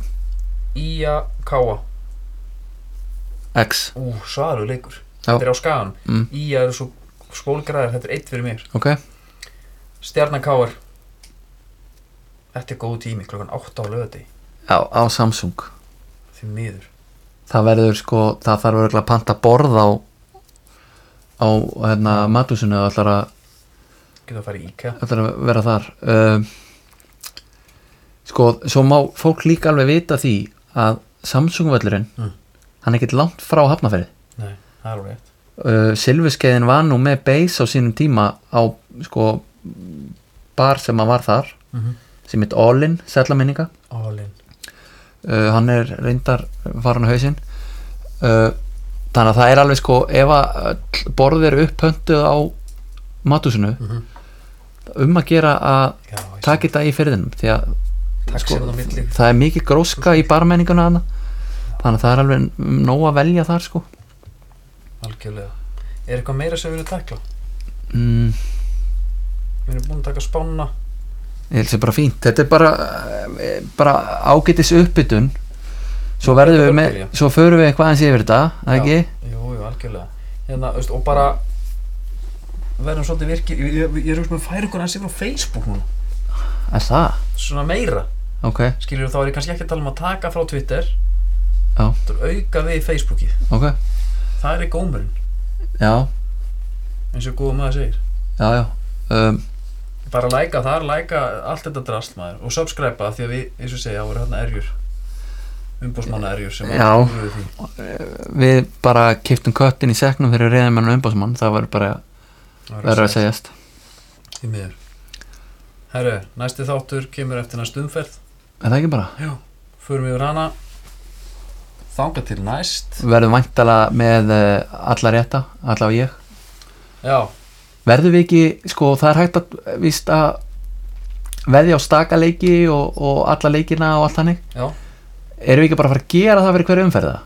Speaker 2: Ía Káa
Speaker 3: X
Speaker 2: Ú, svaru leikur,
Speaker 3: Já.
Speaker 2: þetta er á skagan
Speaker 3: Mm.
Speaker 2: Ía eru svo skólgræðar, þetta er eitt fyrir mér
Speaker 3: Ok,
Speaker 2: Stjarnan Káar Þetta er góð tími, klokkan 8 á lögati
Speaker 3: já, á Samsung
Speaker 2: Því miður
Speaker 3: það verður sko, það þarf örugglega að panta borð á á hérna matúsinu og ætlar að,
Speaker 2: Getur að fara í IKEA
Speaker 3: ætlar að vera þar um, sko, svo má fólk líka alveg vita því að Samsung-völlurinn
Speaker 2: Mm.
Speaker 3: hann er ekkert langt frá hafnaferði
Speaker 2: Nei, það er alveg rétt
Speaker 3: uh, Silfuskeiðin var nú með beis á sínum tíma á sko bar sem hann var þar
Speaker 2: mm -hmm.
Speaker 3: sem heit Allin, sellaminninga
Speaker 2: Allin
Speaker 3: uh, hann er reyndar farin á hausinn uh, þannig að það er alveg sko ef að öll borð eru upphönduð á matúsinu
Speaker 2: Mhm.
Speaker 3: um að gera að
Speaker 2: Já, ég
Speaker 3: taka þetta í fyrðinum því að
Speaker 2: Takk
Speaker 3: sko,
Speaker 2: sér það á milli
Speaker 3: það er mikið gróska í barmenninguna hana þannig að það er alveg nóg að velja þar sko
Speaker 2: algjörlega er eitthvað meira sem við erum tækla
Speaker 3: mm,
Speaker 2: við erum búin að taka spána
Speaker 3: ég held sem bara fínt þetta er bara, eh, bara ágætis uppbytun svo verðum við með
Speaker 2: Börnbyrja.
Speaker 3: svo förum við eitthvað aðeins yfir þetta eða ekki?
Speaker 2: Já, jú, jú, algjörlega hérna, veist, og bara verðum svolítið virkir ég, ég, ég er hugsa með að færa ykkur aðeins yfir á Facebook núna
Speaker 3: Er það?
Speaker 2: svona meira,
Speaker 3: Ok,
Speaker 2: skilur þá er ég kannski ekki að tala um að taka frá Twitter
Speaker 3: Já.
Speaker 2: Þetta er auka við Facebookið
Speaker 3: ok
Speaker 2: það er í gómurinn,
Speaker 3: Já,
Speaker 2: eins og góða maður segir
Speaker 3: já, já um,
Speaker 2: bara læka þar, læka allt þetta drast maður og subscribe að því að við, eins og ég segja, voru hérna erjur umbúsmanna erjur sem að-
Speaker 3: Já.
Speaker 2: voru því.
Speaker 3: Við bara kiptum köttin í seknum fyrir reyðimenn og umbásmann Það var bara
Speaker 2: Það var
Speaker 3: verður að segjast
Speaker 2: Því miður. Herru, næsti þáttur kemur eftir næst umferð.
Speaker 3: Er það ekki bara?
Speaker 2: Já. Förum yfir hana. Þanga til næst.
Speaker 3: Verðum væntala með eh, alla rétta, alla og ég
Speaker 2: Já,
Speaker 3: Verðum við ekki, sko, það er hægt að víst að veðja á staka leiki og, og alla leikina og allt hannig
Speaker 2: já,
Speaker 3: Erum við ekki bara að fara að gera það fyrir hverju umferða?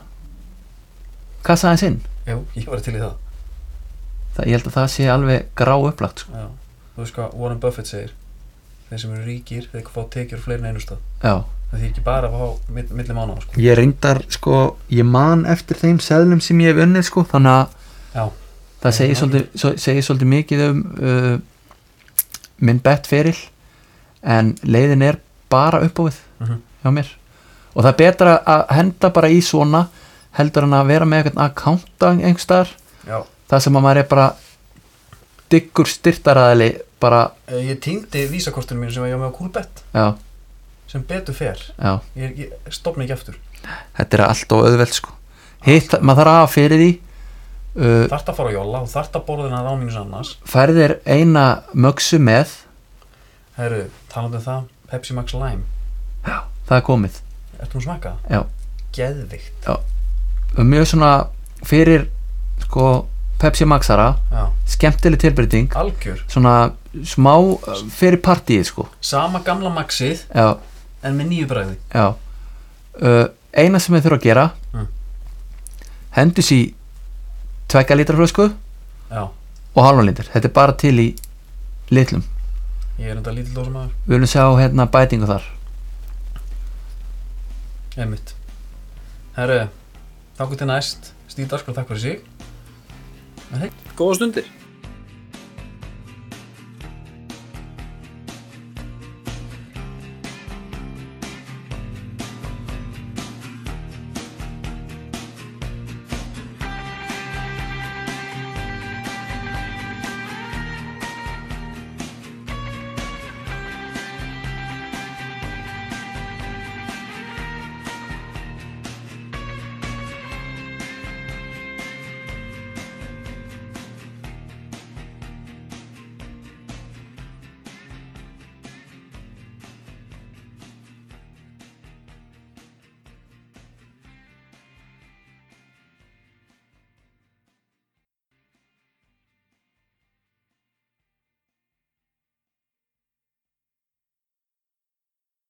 Speaker 3: Kassa aðeins inn
Speaker 2: já, ég var til í það.
Speaker 3: það, Ég held að það sé alveg grá upplagt sko.
Speaker 2: Já. Þú veist hvað Warren Buffett segir. Þeir sem eru ríkir, þeir fá tekjur fleiri en einu stað.
Speaker 3: Já
Speaker 2: Það þýr ekki bara að fá mill- milli mánuða, sko.
Speaker 3: Ég reyndar, sko, ég man eftir þeim seðlum sem ég hef unnið, sko, þannig að
Speaker 2: Já.
Speaker 3: það segir svolítið, svo, segir svolítið mikið um uh, minn bett feril en leiðin er bara uppávið
Speaker 2: Mhm.
Speaker 3: hjá mér og það er betra að henda bara í svona heldur en að vera með eitthvað að kánta einhverstaðar,
Speaker 2: Já.
Speaker 3: það sem að maður er bara diggur styrtaraðili bara,
Speaker 2: Eh, Ég týndi vísakortinu mínu sem var hjá mig á Coolbet,
Speaker 3: já,
Speaker 2: sem betur fer.
Speaker 3: já
Speaker 2: Ég, ég stopna ekki aftur.
Speaker 3: þetta er allt og auðvelt, sko hitt, maður þarf að hafa fyrir því uh,
Speaker 2: Þart að fara á jóla og þart að borða þennan án mínus annars.
Speaker 3: færðir eina mögsu með
Speaker 2: Herru, talandi um það, Pepsi Max Lime.
Speaker 3: það er komið
Speaker 2: Ertu hún smakað?
Speaker 3: Já.
Speaker 2: Geðvikt.
Speaker 3: Og mjög svona fyrir sko, Pepsi Maxara
Speaker 2: Já.
Speaker 3: skemmtileg tilbreyting
Speaker 2: Algjör.
Speaker 3: svona smá uh, fyrir partíið sko
Speaker 2: Sama gamla Maxið
Speaker 3: já,
Speaker 2: en með nýju bræði.
Speaker 3: já uh, eina sem við þurfum að gera
Speaker 2: Mm.
Speaker 3: hendur sér tvekka lítra flösku
Speaker 2: Já.
Speaker 3: og halvan lítur þetta er bara til í litlum
Speaker 2: Ég er enda lítill dósamaður.
Speaker 3: við viljum sjá hérna bætingu þar
Speaker 2: Emmitt. sko, Herru, þakku til næst. Stíð Darskóla, takk fyrir sig.
Speaker 5: Góða stundir